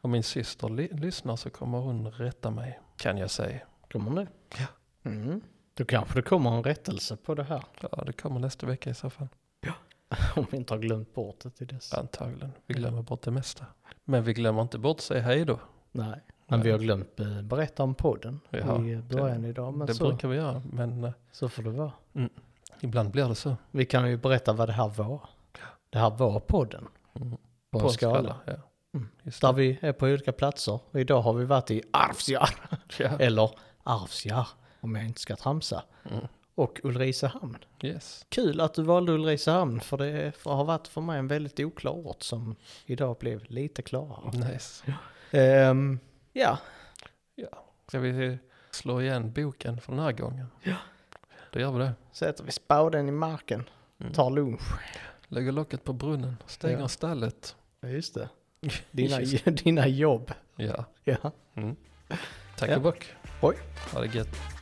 Speaker 2: Om min syster li- lyssnar så kommer hon rätta mig, kan jag säga.
Speaker 3: Kommer det? Ja. Mm. Då kanske det kommer en rättelse på det här. *laughs*
Speaker 2: Ja, det kommer nästa vecka i så fall.
Speaker 3: Om vi inte har glömt bort det till dess.
Speaker 2: Antagligen. Vi
Speaker 3: Mm.
Speaker 2: glömmer bort det mesta. Men vi glömmer inte bort att säga hej då.
Speaker 3: Nej. Men vi har glömt eh, berätta om podden
Speaker 2: Jaha,
Speaker 3: i början idag. Men
Speaker 2: det
Speaker 3: så,
Speaker 2: brukar vi göra, men eh,
Speaker 3: så får det vara.
Speaker 2: ibland blir det så.
Speaker 3: Vi kan ju berätta vad det här var. Det här var podden.
Speaker 2: Mm.
Speaker 3: På, en skala.
Speaker 2: Ja.
Speaker 3: Mm.
Speaker 2: Just
Speaker 3: Där
Speaker 2: det.
Speaker 3: vi är på olika platser. Och idag har vi varit i Arvsjar.
Speaker 2: Ja.
Speaker 3: *laughs* Eller Arvsjar, om jag inte ska tramsa.
Speaker 2: Mm.
Speaker 3: Och Ulricehamn.
Speaker 2: Yes.
Speaker 3: Kul att du valde Ulricehamn, för det för- har varit för mig en väldigt oklar ort som idag blev lite klarare.
Speaker 2: Nice.
Speaker 3: Ehm, ja,
Speaker 2: Ska vi slå igen boken för den här gången? Ja. Då gör vi det.
Speaker 3: sätter vi spaden i marken,
Speaker 2: Mm.
Speaker 3: tar lunch.
Speaker 2: Lägger locket på brunnen, stänger
Speaker 3: Ja.
Speaker 2: stallet.
Speaker 3: Ja, just det. *laughs* Dina,
Speaker 2: Just.
Speaker 3: dina jobb.
Speaker 2: Ja.
Speaker 3: Ja.
Speaker 2: Tack
Speaker 3: Ja.
Speaker 2: och bock.
Speaker 3: Oj.
Speaker 2: Ha det gött.